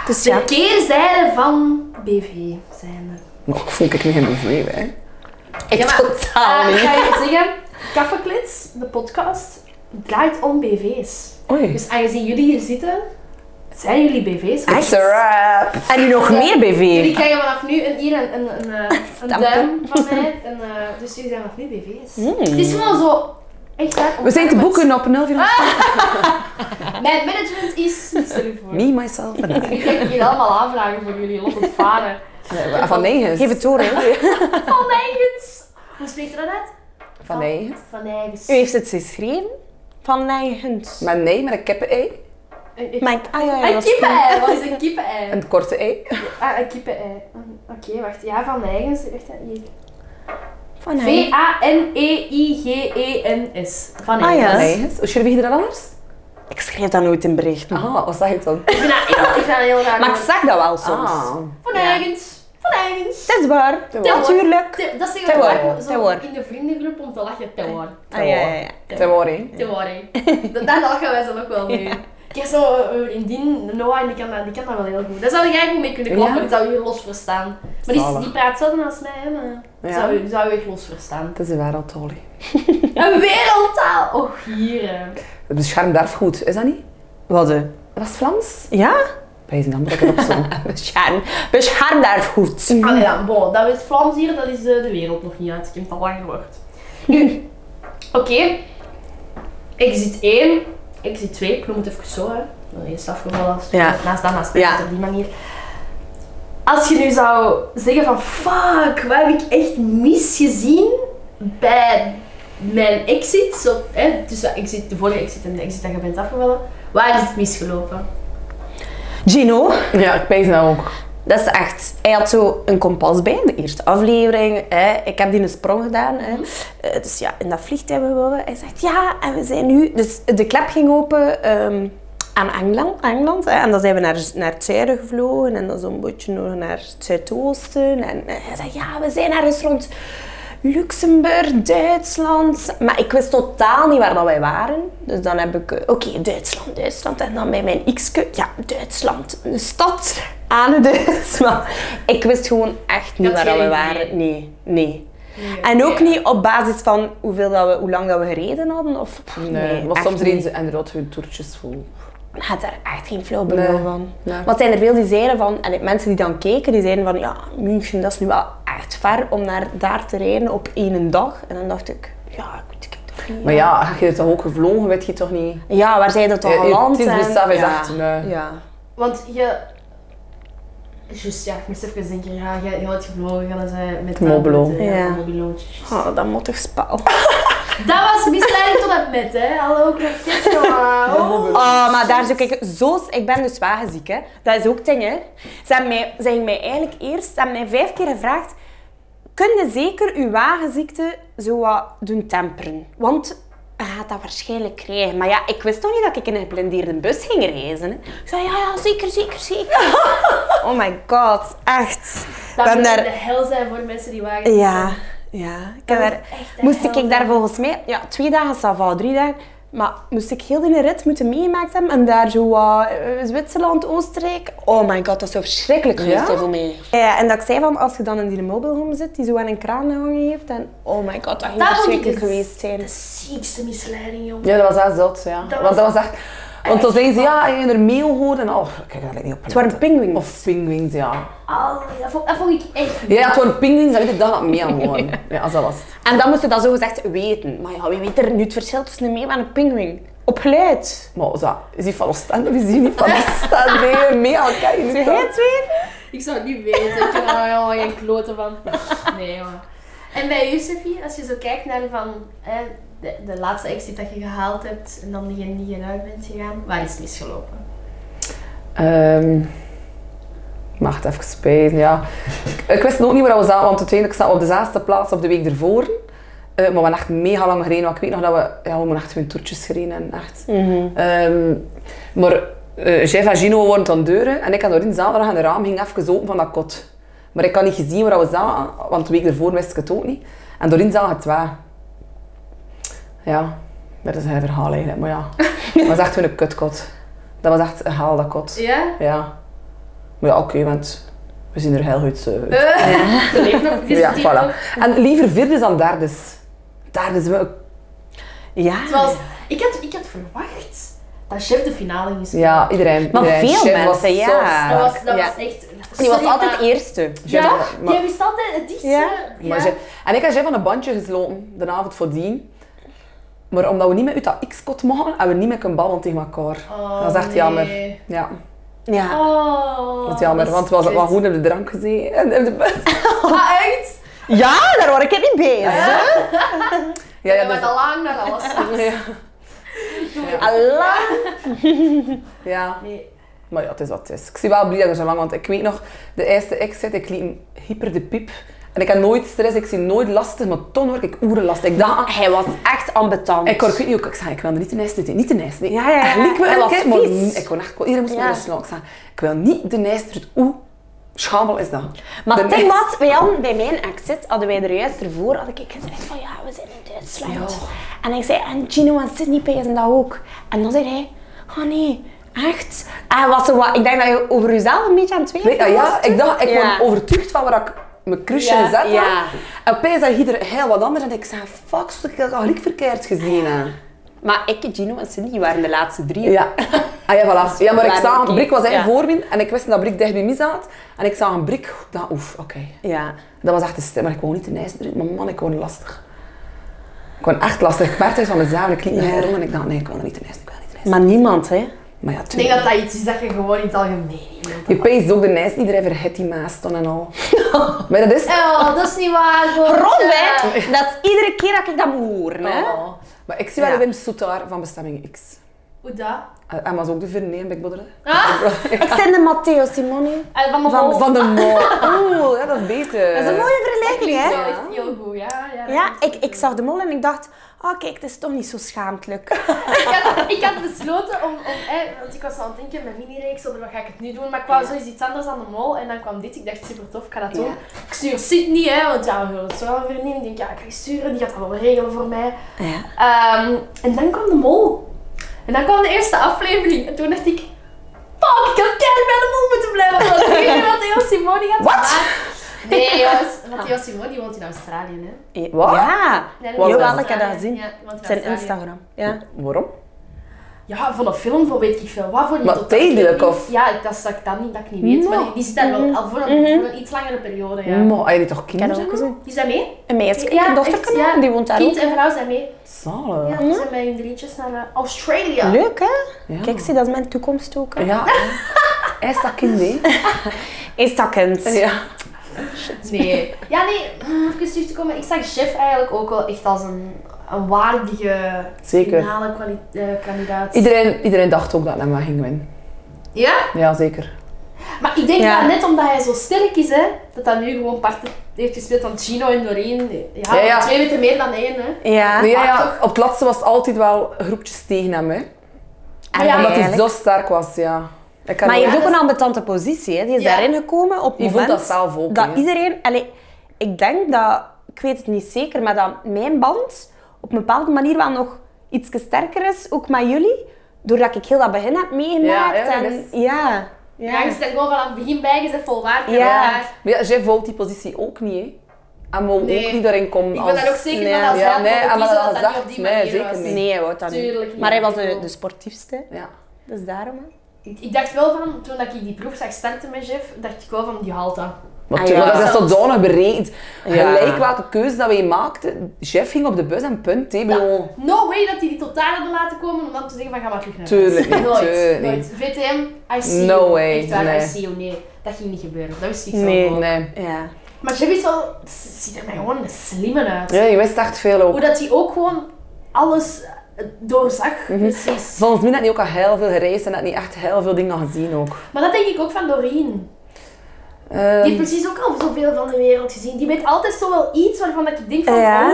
Dus ja.
De keerzijde van BV zijn er.
Maar ik voel ik me geen bevreemd, hè.
Ik
Ja, maar,
totaal
eh,
niet.
Ik ga je zeggen, Kaffeklits, de podcast, draait om BV's.
Oei.
Dus aangezien jullie hier zitten, Zijn jullie BV's?
Echt?
Hm. It's a wrap.
En nu nog meer BV.
Jullie krijgen vanaf nu een, hier een, een, een, eh, een
Stempel.
duim van mij. En, eh, dus jullie zijn vanaf nu BV's. Het is gewoon zo... Echt waar.
Hmm. We zijn te boeken op
Ah!
0400.
Mijn management is... Stel je voor.
Me, myself and I.
Ik ga hier allemaal aanvragen voor jullie, los het varen.
Nee, Van Nijgens.
Geef het door, hè.
Van Nijgens. Hoe spreekt je dat uit?
Van Nijgens.
Van Nijgens.
U heeft het geschreven van Nijgens.
Maar nee, met een kippen-ei.
Een- een-
Maar, ah ja, ja,
Een
dat is
kippenei. Wat is een kippenei?
Een korte ei.
Ah, een kippenei. Oké, wacht. Ja, Van Nijgens. Wacht, hè, hier.
Van Nijgens.
V-A-N-E-I-G-E-N-S. Van
Ah, ja.
Van
Nijgens.
Nijgens. Hoe schrijf je dat anders?
Ik schrijf dat nooit in bericht.
Ah, wat zeg ik dan?
Ik vind dat heel- ik vind dat heel raar.
Maar ik zag dat wel soms.
Ah.
Van Nijgens. Van Nijgens.
Dat is waar.
Tewer.
Natuurlijk.
Te- Dat zeggen we
Tewer.
vaak zo
Tewer.
in de vriendengroep om te lachen. Tewar.
Ah, ja, ja, ja.
Te waar, hè?
Tewar, hè. Dat dat lachen wij zo ook wel mee. Ik heb zo eh, eh, in die Noah, en die kan, dat, die kan dat wel heel goed. Daar zou jij goed mee kunnen klappen,
Ja?
die zou je los verstaan. Maar die,
Zalig.
die praat zelden als mij, hè, maar
Ja.
zou, je, zou je echt los verstaan.
Het is een wereldtaal, hè.
Een wereldtaal! Och, hier. hè.
Het beschermt erf goed, is dat niet?
Wat? eh?
Was het Vlaams?
Ja?
Wij zijn dan dat ik erop zong.
Bescherm. Bescherm daar goed.
Allee, ja, bon, dat is Vlaams hier, dat is eh, de wereld nog niet uit. Ik heb het al lang gehoord. Nu, oké. Exit 1, exit 2, ik noem het even zo, hè. Dan is het afgevallen als
Ja.
naast dat, naast
Ja.
dat, op die manier. Als je nu zou zeggen van, fuck, wat heb ik echt misgezien bij mijn exit, zo, hè, tussen exit, de vorige exit en de exit dat je bent afgevallen, waar is het misgelopen?
Gino,
Ja, ik pijs nou ook.
dat is echt. Hij had zo een kompas bij, de eerste aflevering. Hè. Ik heb die een sprong gedaan.
Mhm.
Hè. Eh, dus ja, in dat vliegtuig. we- we- Hij zegt ja, en we zijn nu. Dus de klep ging open ehm, aan Engeland. Engeland hè. En dan zijn we naar, naar het zuiden gevlogen. En dan zo'n beetje nog naar het zuidoosten. En eh, hij zegt ja, we zijn ergens rond Luxemburg, Duitsland. Maar ik wist totaal niet waar dat wij waren. Dus dan heb ik, eh, oké, Duitsland, Duitsland. En dan bij mijn x ja, Duitsland. Een stad aan de Duitsland. Ik wist gewoon echt niet
Had
waar dat we
geen
waren.
idee.
Nee, nee.
Nee,
En ook
oké.
niet op basis van hoeveel dat we, hoe lang dat we gereden hadden. Of, pff, nee,
Nee, was
echt
soms
niet.
reden ze inderdaad hun toertjes vol.
Ik had daar echt geen flauw benul
Nee,
van.
nee.
Want zijn er veel die zeiden van, en mensen die dan keken, die zeiden van, ja, München, dat is nu wel echt ver om naar daar te rijden op één dag. En dan dacht ik, ja, ik weet ik toch niet.
Maar ja, had je het toch ook gevlogen, weet je toch niet?
Ja, waar zijn dat dan
Ja, je
geland? en-
tijdsbesef is
ja.
echt, nee.
Ja.
Want je... Juist, ja, ik moest even denken, ja, je, je had gevlogen en dan zei met
Mobilo.
met, eh,
Ja.
Mobilo, juist.
Oh, dat moet toch spel.
Dat was misleiding tot en met, hè. Hallo, kroketje, oh.
Oh, maar daar zoek ik zo... Ik ben dus wagenziek, hè. Dat is ook het ding, hè. Ze hebben mij, ze hebben mij eigenlijk eerst... Ze hebben mij vijf keer gevraagd... Kun je zeker uw wagenziekte zo wat doen temperen? Want je gaat dat waarschijnlijk krijgen. Maar ja, ik wist toch niet dat ik in een geblindeerde bus ging reizen, hè. Ik zei, ja, ja, zeker, zeker, zeker. oh my god, echt. We
Dat
hebben
moet
daar-
de hel zijn voor mensen die wagen.
ja, ja. Ik
Dat
heb
is
daar-
echt een
moest
hel,
ik daar
hè.
volgens mij ja, twee dagen Sava, drie dagen. Maar moest ik heel die rit moeten meegemaakt hebben en daar zo wat, eh, Zwitserland, Oostenrijk. Oh my god, dat is zo verschrikkelijk geweest
Ja?
voor mij. Ja, en dat ik zei van als je dan in die mobile home zit die zo aan een kraan hangen heeft. En oh my god, dat dus- ging
Dat vond ik
verschrikkelijk
het-
geweest zijn.
De ziekste misleiding, jongen.
Ja, dat was echt zot, ja.
Dat
Want
was
dat was echt... Want toen zeiden ze, ja, je er meel hoort en oh, kijk, dat lijkt niet op Het
waren pinguïns.
Of pinguïns, ja.
Oh, dat, vond, dat vond ik echt...
Ja, het waren pinguïns, dan weet ik dat dat meel horen. Ja, als dat was het.
En dan moest je dat zo gezegd weten. Maar ja, wie weet er nu het verschil tussen een meeuw en een pinguïn? Op geluid.
Maar is dat, is die van Oostende of is die niet van Oostende? Nee, meel, kijk je niet
Zeg jij
dat?
het weer?
Ik zou het niet weten. Ik heb er helemaal geen kloten van. Nee, jongen. En bij u, Sophie, als je zo kijkt naar van, hè, de, de laatste exit dat je gehaald hebt en dan degene die je uit bent gegaan, waar is het misgelopen?
Ehm mag het even spijzen, ja. Ik- Ik wist nog niet waar we zaten, want uiteindelijk zaten we op de zesde plaats op de week ervoor. Eh, maar we hebben echt mega lang gereden, want ik weet nog dat we... Ja, we hebben echt hun toertjes gereden en echt... Ehm, maar eh Jeff en Gino waren aan deuren en ik had daarin zaterdag en de raam ging even open van dat kot. Maar ik had niet gezien waar we zaten, want de week ervoor wist ik het ook niet. En daarin zagen het twee. Ja, dat is een verhaal eigenlijk, maar ja. Dat was echt hun kutkot. Dat was echt een haal, dat kot.
Ja?
Ja. Maar ja, oké, want we zien er heel goed eh, uit.
Je leeft nog. Je
ja,
zit hier nog.
voilà. En liever vierdes dan derdes. Derdes, we...
Ja.
Zoals, ik, had, ik had verwacht dat chef de finale is.
Ja, iedereen.
Maar
iedereen.
veel
Chef was
mensen,
zo
ja.
Dat
sterk.
was, dat
Ja.
was echt...
Die was
sorry,
altijd
maar-
eerste.
Chef
Ja,
was- maar-
jij wist altijd het dichtste.
Ja.
Maar Jeff- en ik had Jeff van een bandje gesloten de avond voordien. Maar omdat we niet met Uta X kot mogen, en we niet met kunnen babbelen tegen elkaar.
Oh,
dat is echt
nee.
jammer. Ja,
Ja.
Oh,
dat is jammer, want we
kut.
waren goed op de drank gezeten. En op de bus.
Ah, echt?
Ja, daar word ik niet bezig.
Ja, ja,
ik ben
dus-
al lang naar alles.
ja.
Allah.
ja.
Nee.
Maar ja, het is wat het is. Ik zie wel blij dat er zo lang, want ik weet nog, de eerste exit, ik liep een hyper de piep. En ik had nooit stress, ik zie nooit lastig, maar toen word ik oeren lastig. Ik dacht, ah,
Hij was echt ambetant.
Ik kon, ik weet niet hoe ik ik zei, ik wil er niet de nest uit, niet de nest. Nee.
Ja, ja, ja.
En liep me
Hij
een
was
keer, maar
vies.
n- Ik kon echt, iedereen moest
Ja.
me rustig Ik zei, ik wil niet de nest uit. Hoe schamel is dat?
Maar
De
het
nest-
ding was, bij, Jan, bij mijn exit hadden wij er juist ervoor, had ik gezegd van ja, we zijn in Duitsland.
Ja.
En ik zei, en Gino en Sydney pezen dat ook. En dan zei hij, oh nee, echt? En was er wat, ik denk dat je over jezelf een beetje aan het
Weet, ja,
twijfelen was
ah, ja,
toen.
ik dacht, ik
Ja.
was overtuigd van waar ik mijn crush
Ja,
in zat.
ja.
En opeens zag ieder heel wat anders en ik zei, fuck, stuk, ik heb dat gelijk verkeerd gezien. hè.
Maar ik, Gino en Sydney waren de laatste drie.
Ja. Ah, ja, voilà. ja, maar ik
Waar
zag,
Dus ik-
Brik was
ja.
eigenlijk voor me en ik wist dat Brik dicht bij mij zat. En ik zag een Brik, dat oef, oké.
Ja.
Dat was echt de stem, maar ik wou niet de nijs erin, maar man, ik wou lastig. Ik wou echt lastig. Ik merkte het van mezelf, ik liep me
Ja.
rond en ik dacht, nee, ik wil er niet de nijs, ik wil niet de nijs.
Maar niemand, hè?
Maar ja,
Ik denk
tuurlijk.
dat dat iets is dat je gewoon in het algemeen niet wilt.
Je peest ook de nijs, iedereen vergeet die maas dan en al. maar dat is...
Oh, dat is niet waar. Goortje.
Rob, hè? Dat is iedere keer dat ik dat moet horen, hè?
Oh.
Maar ik zie wel
Ja.
Wim Soetaar van Bestemming X.
Hoe dat?
En en was ook de verneer, ben ik boddelen.
Oh. Ik ben de Matteo Simone.
En Eh, van de
Van,
hol.
van de mol. Oeh, ja, dat is beter.
Eh, Dat is een mooie vergelijking,
klinkt
hè?
wel echt heel goed, ja. Ja,
Ja, ik, ik zag de mol en ik dacht, oh kijk, het is toch niet zo schaamtelijk.
ik, had, ik had besloten om, om hè, want ik was aan het denken, mijn mini-reeks, over wat ga ik het nu doen? Maar ik wou zoiets iets anders aan de mol en dan kwam dit. Ik dacht, super tof, ik ga dat doen.
Ja.
Ik stuur Sydney, hè, want ja, we willen het zo wel verdienen. Ik denk, ja, ik ga je sturen, die gaat dat wel regelen voor mij.
Ja.
Ehm, en dan kwam de mol. En dan kwam de eerste aflevering. En toen dacht ik, fuck, ik had keihard bij de mol moeten blijven. Want ik weet niet wat Theo Simoni had
Wat?
gemaakt. Nee, jongens, want Theo Simoni woont in Australië, hè.
Wat?
Ja.
Nee, dat
Wat?
is in
Jawel, ik heb dat
Australië.
gezien.
Ja, want in
Zijn
Australië.
Instagram. Ja.
Waarom?
Ja, voor een film, voor weet ik veel wat. Voor die
Maar
totaal-
tijdelijk, of?
Ja, ik- dat is dat ik dat niet, dat ik niet weet. Maar die, die zit daar
Mm-hmm.
wel al voor een, voor een iets langere periode, ja.
Maar, had je die toch
Ik heb
kinderen?
dat ook gezien.
Is dat mee?
Een meisje,
Ja,
een
echt,
dochter,
ja.
die woont daar
Kind
ook. Mm-hmm.
en vrouw zijn mee.
Zalig.
Ja,
Ja.
we zijn met hun drietjes naar eh, Australië.
Leuk, hè? Kijk, zie, dat is mijn toekomst ook. hè.
Hij is dat kind, hè?
Is dat kind?
Ja.
Nee. Ja, nee, om even terug te komen. Ik zag Chef eigenlijk ook wel echt als een, een waardige
Zeker.
finale kwali- eh, kandidaat.
Iedereen, iedereen dacht ook dat Emma ging winnen.
Ja?
Ja, zeker.
Maar ik denk
Ja.
dat net omdat hij zo sterk is, hè, dat dat nu gewoon part heeft gespeeld van Gino en Doreen. Ja,
Ja, ja.
twee weten meer dan één, hè.
Ja.
Nee, ja,
Ah,
ja, op het laatste was het altijd wel groepjes tegen hem, hè.
Maar ja,
En
Omdat hij
Ah, eigenlijk.
zo sterk was, ja. Ik kan
Maar
ook-
je hebt ook een ambetante positie, hè? Die is
Ja.
daarin gekomen op
Die
het
voelt
moment
dat zelf ook,
dat
hè.
iedereen... Allee, ik denk dat... Ik weet het niet zeker, maar dat mijn band op een bepaalde manier wel nog iets sterker is, ook met jullie. Doordat ik heel dat begin heb meegemaakt.
Ja, ja, dat
en,
is-
ja. Ja.
Ja, je zit er gewoon vanaf het begin bij, je bent volwaardig.
Ja.
Ja.
Maar ja, Jeff voelt die positie ook niet, hè. En wil
Nee.
ook niet daarin komen
Ik
als...
ben daar ook zeker
nee,
van als
ja,
hij
nee,
had mogen
en wat
kiezen,
hij
dat dat niet
zegt,
op die
nee,
manier
zeker
was.
niet.
Nee, hij wou dat niet.
Tuurlijk niet.
Maar hij was de,
Tuurlijk.
de sportiefste,
Ja.
dus daarom. hè.
Ik, ik dacht wel van, toen dat ik die proef zag starten met Jeff, dacht ik wel van, die haalt dat.
Maar
Ah,
toen-
ja.
maar dat is zodanig bereid.
Ja.
Gelijk welke keuze dat wij maakten, Jeff ging op de bus en punt, hè. Ik bedoel,
No way dat die die totaal hebben laten komen om dan te zeggen van, ga maar terug naar huis.
Tuurlijk niet,
Nooit,
tuurlijk niet.
nooit. VTM, I see
No
you.
way,
Echt waar,
nee.
I see you. Nee, dat ging niet gebeuren. Dat wist ik
Nee.
zo wel.
Nee.
Ja.
Maar Jeff is wel, ziet er mij gewoon een slimme uit.
Ja, je wist echt veel ook.
Hoe dat hij ook gewoon alles eh, doorzag,
Mhm.
precies.
Volgens mij had hij ook al heel veel gereisd en had niet echt heel veel dingen al gezien ook.
Maar dat denk ik ook van Doreen.
Ehm,
Die heeft precies ook al zoveel van de wereld gezien. Die weet altijd zo wel iets waarvan dat ik denk van,
Ja.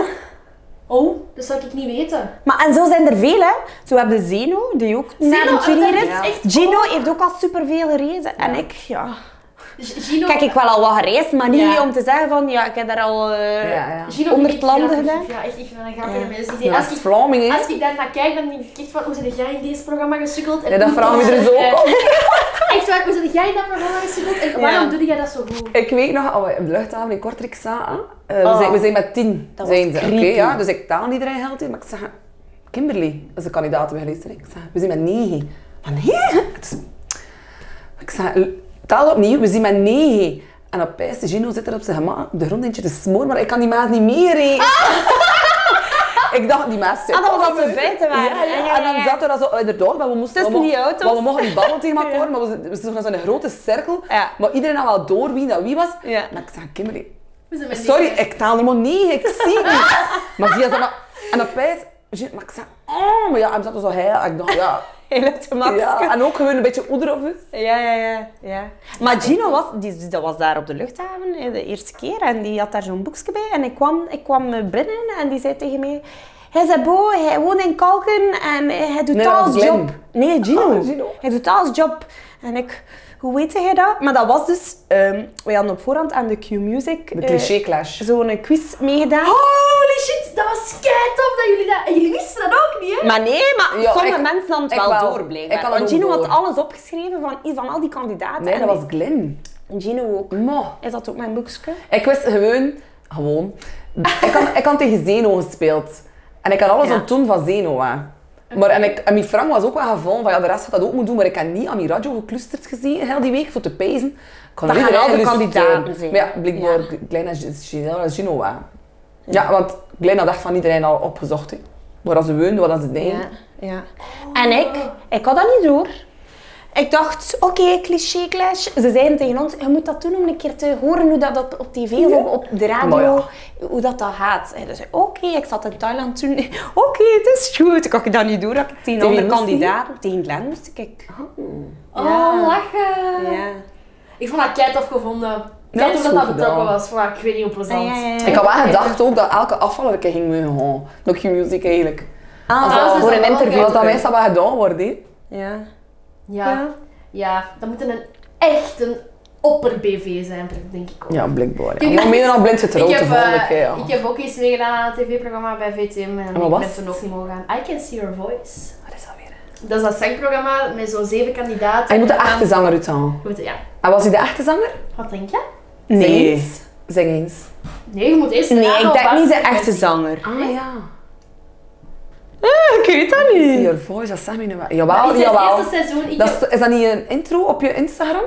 oh, oh, dat zou ik niet weten.
Maar en zo zijn er veel, hè. Zo hebben we Zeno, die ook na
Zeno,
de junior
dat
is.
is echt-
Gino heeft ook al superveel gerezen. En ik, ja...
G- Dus Gino,
Kijk, ik wel al wat gereisd, maar niet
Ja.
om te zeggen van... Ja, ik heb daar al... eh,
ja, ja.
Gino
onder
vind
het landen
grappig.
gedaan.
Ja, echt, ik vind dat grappige
Ja.
mensen. Die,
Ja, dat
als,
is
ik,
Vlaming, hè.
als ik daarnaar kijk, dan denk ik echt van, hoe zit jij in deze programma gesukkeld? En
Ja, dat
hoe-
vragen we er zo
Ja.
ook op.
Echt waar, hoe zit jij in dat programma gesukkeld? En waarom doe jij dat zo goed?
Ik weet nog, als we op de luchthaven in Kortrijk zaten, eh, we,
Oh.
zijn, we zijn met tien.
Dat was
zijn ze, oké,
creepy.
ja, dus ik taal niet iedereen geld in, maar ik zeg, Kimberly is de kandidaat begeleidster. Ik zei, we zien met negen. Maar nee, het is... Ik zei, taal opnieuw, we zien met negen. En op pijs, de Gino zit er op zijn gemak, op de grond eentje te smoren, maar ik kan die maat niet meer eten. Ik dacht, die maat zit
Ah, dat was
op.
als we buiten waren.
Ja, ja,
Ja, ja,
En dan
ja.
zaten we daar zo, inderdaad, maar we moesten...
Tussen
we mo-
die auto's.
Maar we mochten die ballen tegen elkaar, maar we z- we stonden in zo'n grote cirkel.
Ja.
Maar iedereen had wel door wie dat wie was.
Ja.
Maar ik zei, Kimberly,
We zijn met
Sorry,
negen.
ik taal helemaal niet, ik zie het niet. maar zie je dat maar... En opeens... je- Maar ik zei, oh, maar ja, hij zat zo heel... Ik dacht, ja.
Heel het gemak.
ja. En ook gewoon een beetje oeder of iets.
Ja, ja, ja, ja. Maar Gino was, die, die- dat was daar op de luchthaven eh, de eerste keer en die had daar zo'n boekje bij. En ik kwam, ik kwam eh, binnen en die zei tegen mij... Hij zei, Bo, hij woont in Kalken en eh, hij doet
Nee, dat
taal
was
als
Glenn.
job. Nee, Gino.
Ah, Gino.
Hij doet taal als job. En ik, hoe weet hij dat? Maar dat was dus, ehm wij hadden op voorhand aan de Q-Music
De
eh,
cliché Oh, clash.
zo'n quiz meegedaan.
Holy shit, dat was kei tof dat jullie dat... En jullie wisten dat ook niet, hè?
Maar nee, maar
Ja,
sommige
ik-
mensen hadden het
ik
wel,
wel.
door,
Ik had
blijkbaar.
het
Want
ook
Gino had
door.
alles opgeschreven van, van al die kandidaten.
Nee,
En
dat was Glenn.
Gino ook.
Mo.
Is dat ook mijn boekje?
Ik wist gewoon... Gewoon. Ik had, ik had tegen Zeno gespeeld. En ik had alles
Ja.
aan toen van Zeno, hè. Maar, en, ik, en mijn Frank was ook wel gevallen van ja, de rest gaat dat ook moeten doen, maar ik heb niet aan mijn radio geclusterd gezien heel die week voor te pezen. Ik kon
Dat
niet
gaan
de
andere
radio luisteren.
kandidaten zijn.
Maar ja, blijkbaar
Ja.
Glenn en G- Giselle en Gino hè. Ja, want Glenn had echt van iedereen al opgezocht. Hè. Waar ze woonden, wat ze deden.
Ja, ja. En ik, ik had dat niet door. Ik dacht, oké, cliché clash. Ze zeiden tegen ons, je moet dat doen om een keer te horen hoe dat op, op tv of op, op de radio,
Maar ja.
hoe dat, dat gaat. En dus, oké, ik zat in Thailand toen. Oké, het is goed. Ik had dat niet door. dat Ik tegen
wie
andere
moest je?
kandidaten, tegen Glenn moest ik. Ja.
Oh, lachen.
Ja.
Ik vond dat kei tof gevonden.
dat
Kei
is
tof dat
goed
dat betrokken
gedaan.
was, maar ik weet niet hoe plezant.
Ah, ja, ja, ja.
Ik had wel gedacht ook dat elke afvaller een keer ging mogen gaan. Nog geen muziek eigenlijk.
Ah,
dat
dat- dus
is
voor een
wel
interview.
oké.
Want dat meestal wel gedaan wordt. hè.
Ja.
Ja.
Ja.
ja. dat moet een echt een opper BV zijn, denk ik ook.
Ja, blijkbaar.
Ik-
Ja. Maar meer dan blind
Ik
getrouwd de
heb,
volgende
eh,
keer. Ja.
ik heb ook eens meegedaan aan een tv-programma bij VTM en
wat
ik
was
ben
het?
toen ook niet mogen gaan. I Can See Your Voice.
Wat is dat weer? hè?
Dat is dat zangprogramma met zo'n zeven kandidaten.
En Ah, je moet de
En dan-
echte zanger uit halen.
Je moet- Ja.
En was hij de echte zanger?
Wat denk je?
Zing
Nee.
eens. Zing eens.
Nee, je moet eerst
Nee,
raden
ik
op
denk
waar
niet de
ze-
echte zanger.
Ah ja.
Ah, ik weet dat niet.
Your voice, dat zijn we nu wel.
Maar
Jawel,
in zijn
jawel.
eerste seizoen, ik
Dat
heb-
is, is dat niet een intro op je Instagram?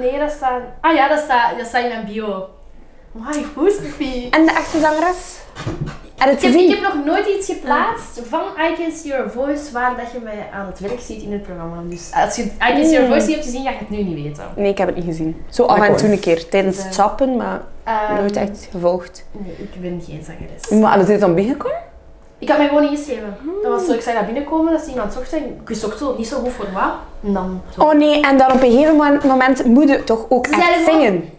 Nee, dat staat... Ah ja, dat staat, dat staat in mijn bio. My, hoe is het Fie?
En de echte zangeres? En het
Ik heb, ik
gezien?
heb nog nooit iets geplaatst van I Can See Your Voice waar dat je mij aan het werk ziet in het programma. Dus als je I Can See Your
Mm.
Voice niet hebt gezien, ga je het nu niet weten.
Nee, ik heb het niet gezien. Zo af
Ik
en
ook.
toe een keer, tijdens
Ja.
het sappen, maar
Ehm,
nooit echt gevolgd.
Nee, ik ben geen zangeres.
Maar en is dit dan binnengekomen?
Ik had mij gewoon ingeschreven. Dat was zo, ik zag dat binnenkomen, dat ze iemand zocht en ik wist ook zo niet zo goed voor wat. En dan zo.
Oh nee, en dan op een gegeven mo- moment moet je toch ook
Zelf
echt
ook.
zingen?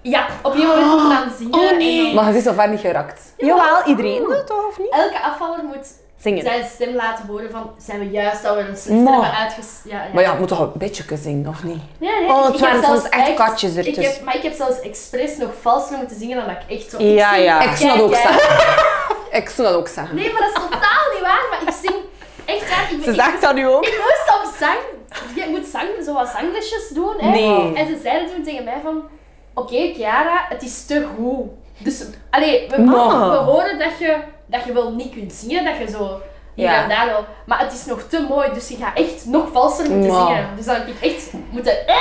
Ja, op een gegeven moment gaan zingen.
oh nee.
en dan-
Maar je is zo ver niet geraakt.
Jawel, iedereen doet toch, of niet?
Elke afvaller moet
Zingen.
zijn stem laten horen van zijn we juist al wel een slechte
Maar-
hebben uitges... Ja, ja.
Maar ja, het moet toch een beetje kunnen zingen, of niet?
Nee, nee,
Oh,
ik-
het
ik
waren
heb zelfs
soms echt katjes ertussen.
Ik heb, maar ik heb zelfs expres nog valser moeten zingen dan dat ik echt zo...
Ja,
ik zing
ja.
kei,
Ik zou dat ook
kei-
zeggen. Ik zou dat ook zeggen.
Nee, maar dat is totaal niet waar, maar ik zing echt waar. Ik,
Ze
ik,
zegt dat nu ook.
ik moest op zang... Je moet zang, zo wat zanglesjes doen, hè.
Nee.
En ze zeiden toen tegen mij van... Oké, Chiara, het is te goed. Dus, allee, we,
Maar.
we horen dat je, dat je wel niet kunt zingen, dat je zo... Hier
Ja.
en daar wel. Maar het is nog te mooi, dus je gaat echt nog valser moeten
Maar.
zingen. Dus dan heb ik echt moeten... Eh,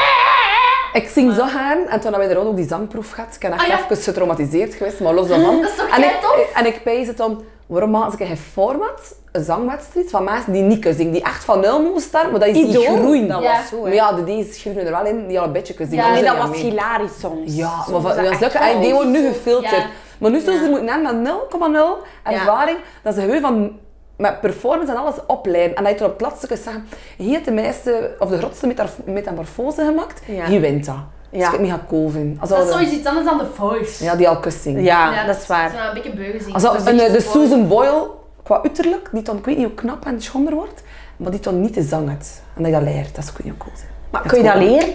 Ik zing zo gaan en toen hebben we er ook die zangproef gehad. Ik ben echt
Ah, ja.
even getraumatiseerd geweest, maar los daarvan.
Dat is toch
en
kei
ik,
tof?
en ik pijs het dan, waarom maken ze geen format, een zangwedstrijd van mensen die niet kunnen zingen, die echt van nul moeten starten, maar dat is die groeien.
dat
Ja.
was zo,
Maar
hè.
ja, de deze schroeven er wel in, die al een beetje kunnen zingen.
Ja.
Nee,
anders
dat
zijn
was
die niet
hilarisch soms.
mee. Ja,
Soms
maar van, dat
echt
is lukken. En die
wel.
worden nu gefilterd.
Ja.
Maar nu zullen ze
Ja.
moeten aan met 0,0 ervaring, dat ze gewoon van met performance en alles opleiden. En dat je er op het laatste kunt zeggen, hier heeft de meeste, of de grootste metaf- metamorfose gemaakt,
Ja.
hier wint dat. Dus
Ja.
ik mega cool vind. Als
Dat
al
is
de-
zoiets iets anders dan de voice.
Ja, die al kust zingen.
Ja, dat is waar.
een beetje beu gezien.
Als al- een, eh, de Susan Boyle, qua uiterlijk, die dan, ik weet niet hoe knap en schonder wordt, maar die dan niet te zang het. En dat je dat leert, dat is ook heel cool. Zijn.
Maar kun je dat leren?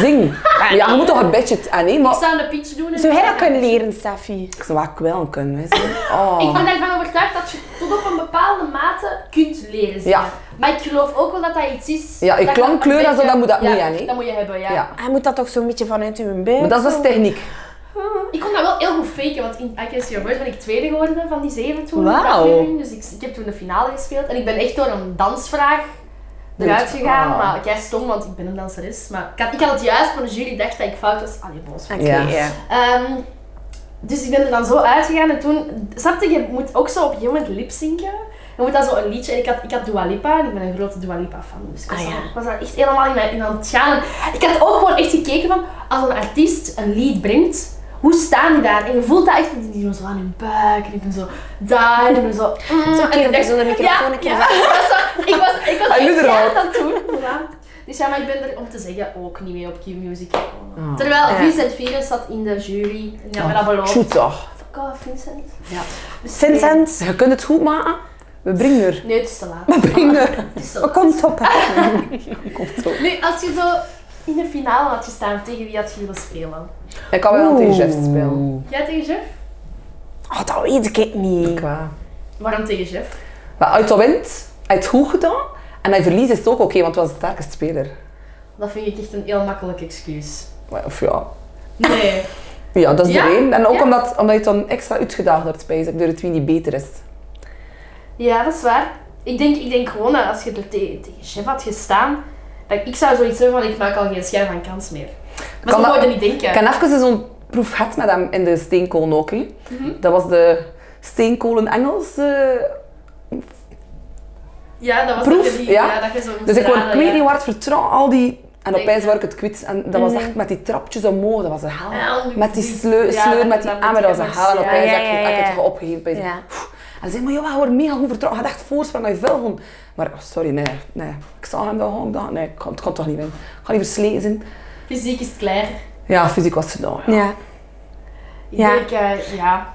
Zing. Ja, je moet toch een beetje... Ah nee, maar...
Ik zou een pitch doen. en-
Zou jij dat kunnen leren, Steffi?
Ik zou wel kwellen kunnen, hè. zo.
Ik ben
Oh.
ervan overtuigd dat je tot op een bepaalde mate kunt leren zingen.
Ja.
Maar ik geloof ook wel dat dat iets is...
Ja, je
dat
klankkleur
een
en zo,
beetje-
dat moet- dat moet je,
ja,
hè?
Dat moet je hebben, ja.
Ja.
Hij moet dat toch zo'n beetje vanuit uw buik?
Maar dat is dus
zo?
techniek.
Ik kon dat wel heel goed faken, want in I Can See Your Voice ben ik tweede geworden van die zeven toen.
Wauw.
aflevering. Dus ik, ik heb toen de finale gespeeld en ik ben echt door een dansvraag eruit
Dood.
gegaan.
Ah.
Maar jij stom, want ik ben een danseres. Maar ik had, ik had het juist, maar de jury dacht dat ik fout was. Allee, boos.
Oké,
Ja.
ja.
Ehm, dus ik ben er dan zo uitgegaan en toen, snap je, je moet ook zo op een gegeven moment lipzinken. Je moet dan zo een liedje, en ik had, ik had Dua Lipa, en ik ben een grote Dua Lipa fan, dus ik was,
Ah,
dan-
ja.
ik was daar echt helemaal in, mijn, in aan het gaan. Ik had ook gewoon echt gekeken van, als een artiest een lied brengt, hoe staan die daar? En je voelt dat echt, die doen zo aan hun buik, en die doen zo daar, en die doen zo... mm,
Zo'n keer
en ik dacht-
zonder microfoon, een keer
ja, ik was zo- ik was, ik was
Hij doet
echt
er al.
gaaf aan het doen. Ja. Dus ja, maar ik ben er om te zeggen ook niet mee op Q-Music gekomen.
Oh.
Terwijl
Ja.
Vincent Vires zat in de jury en die had me dat beloofd.
Goed toch.
Fuck off, Vincent.
Ja.
Dus
Vincent,
oh. Je kunt het goed maken. We brengen er.
Nee, nee, het is te laat.
We brengen er.
Het is te
we
laat.
komen toppen.
Komt zo.
Nu, als je zo in de finale had gestaan, tegen wie had je willen spelen?
Ik kan wel tegen Jeff
Oeh.
spelen.
Jij tegen Jeff?
Oh, dat weet ik niet.
Qua.
Waarom tegen Jeff?
Maar uit de wind, hij heeft goed gedaan. En hij verliest is het ook oké, want hij was de sterkste speler.
Dat vind ik echt een heel makkelijk excuus.
Maar, Of ja.
Nee.
Ja, dat is
Ja,
de reden. En ook
ja.
omdat, omdat je het dan extra uitgedaagd wordt bij door het wie niet beter is.
Ja, dat is waar. Ik denk, ik denk gewoon dat als je er te- tegen Jeff had gestaan, dat ik zou zoiets hebben van ik maak al geen schijn van kans meer. Maar
Kan
zo
dat-
moet je niet denken.
Ik heb even zo'n proef gehad met hem in de steenkolen ook. hè. Dat was de steenkolen Engels. eh,
Ja, dat was
Proef,
het drie,
ja.
ja. dat je zo moest
dus ik word
raden,
kwijt
ja.
niet waar het vertrouwen, al die... En
Nee.
opeens word ik het kwijt. En dat was echt met die trapjes omhoog, dat was een hel.
Ja,
met die
die-
sleur,
ja,
sleur
dat-
met die
dat
emmer, dat was een
moet
hel. En
je
opeens
ja,
heb ik,
ja,
heb ik
ja.
het gewoon opgegeven. Opeens-
Ja.
Oef. En ze zei, maar joh, je wordt mega goed vertrouwen. Je had echt voorsprong dat je veel gewoon... Maar oh, sorry, nee, nee. Ik zag hem dat gewoon, ik dacht, nee, ik kan, het kan toch niet winnen. Ik ga niet versleten zijn.
Fysiek is het klaar.
Ja, fysiek was het gedaan, ja.
Ja.
Ik
Ja.
denk, eh, ja.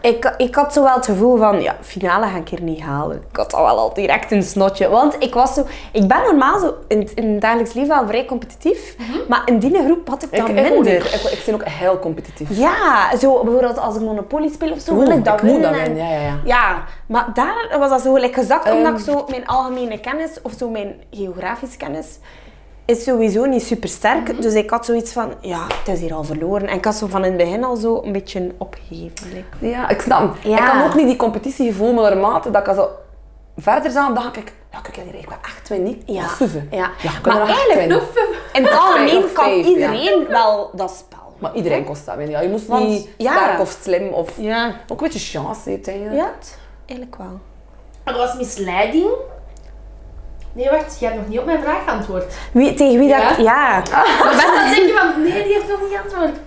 Ik, ik had zo wel het gevoel van, ja, finale ga ik hier niet halen. Ik had al wel al direct een snotje. Want ik was zo... Ik ben normaal zo in, het- in het dagelijks leven wel vrij competitief. Maar in die groep had ik
Mhm. Ik,
dat
ik, ook
minder.
niet. ik, ik ben ook heel competitief.
ja, zo bijvoorbeeld als ik Monopoly speel of zo, wil
Oeh,
ik dat
moet
winnen.
dat
en-
winnen, ja, ja, ja.
Ja, maar daar was dat zo gelijk gezakt, omdat
Ehm.
ik zo mijn algemene kennis, of zo mijn geografische kennis, is sowieso niet super sterk.
Mhm.
Dus ik had zoiets van, ja, het is hier al verloren. En ik had zo van in het begin al zo een beetje opgegeven. like.
Ja, ik snap hem.
Ja.
Ik kan ook niet die competitiegevoel, maar naarmate dat ik zo verder zag, dacht ik, ja, kijk, ik ben echt twee niet.
Ja,
Of zeven.
ja.
ja
Maar eigenlijk
nog...
In het
Vijf
algemeen
of
kan
vijf, ja.
iedereen wel dat spel.
Maar iedereen kost dat winnen. Ja. Je moest
Want-
niet
ja.
sterk of slim of...
Ja.
Ook een beetje chance heeft eigenlijk.
Ja, eigenlijk wel.
Er was misleiding. Nee, wacht, jij hebt nog niet op mijn vraag geantwoord.
Wie, tegen wie
Ja?
dat... Ja.
Dan denk je van, nee, die heeft nog niet geantwoord.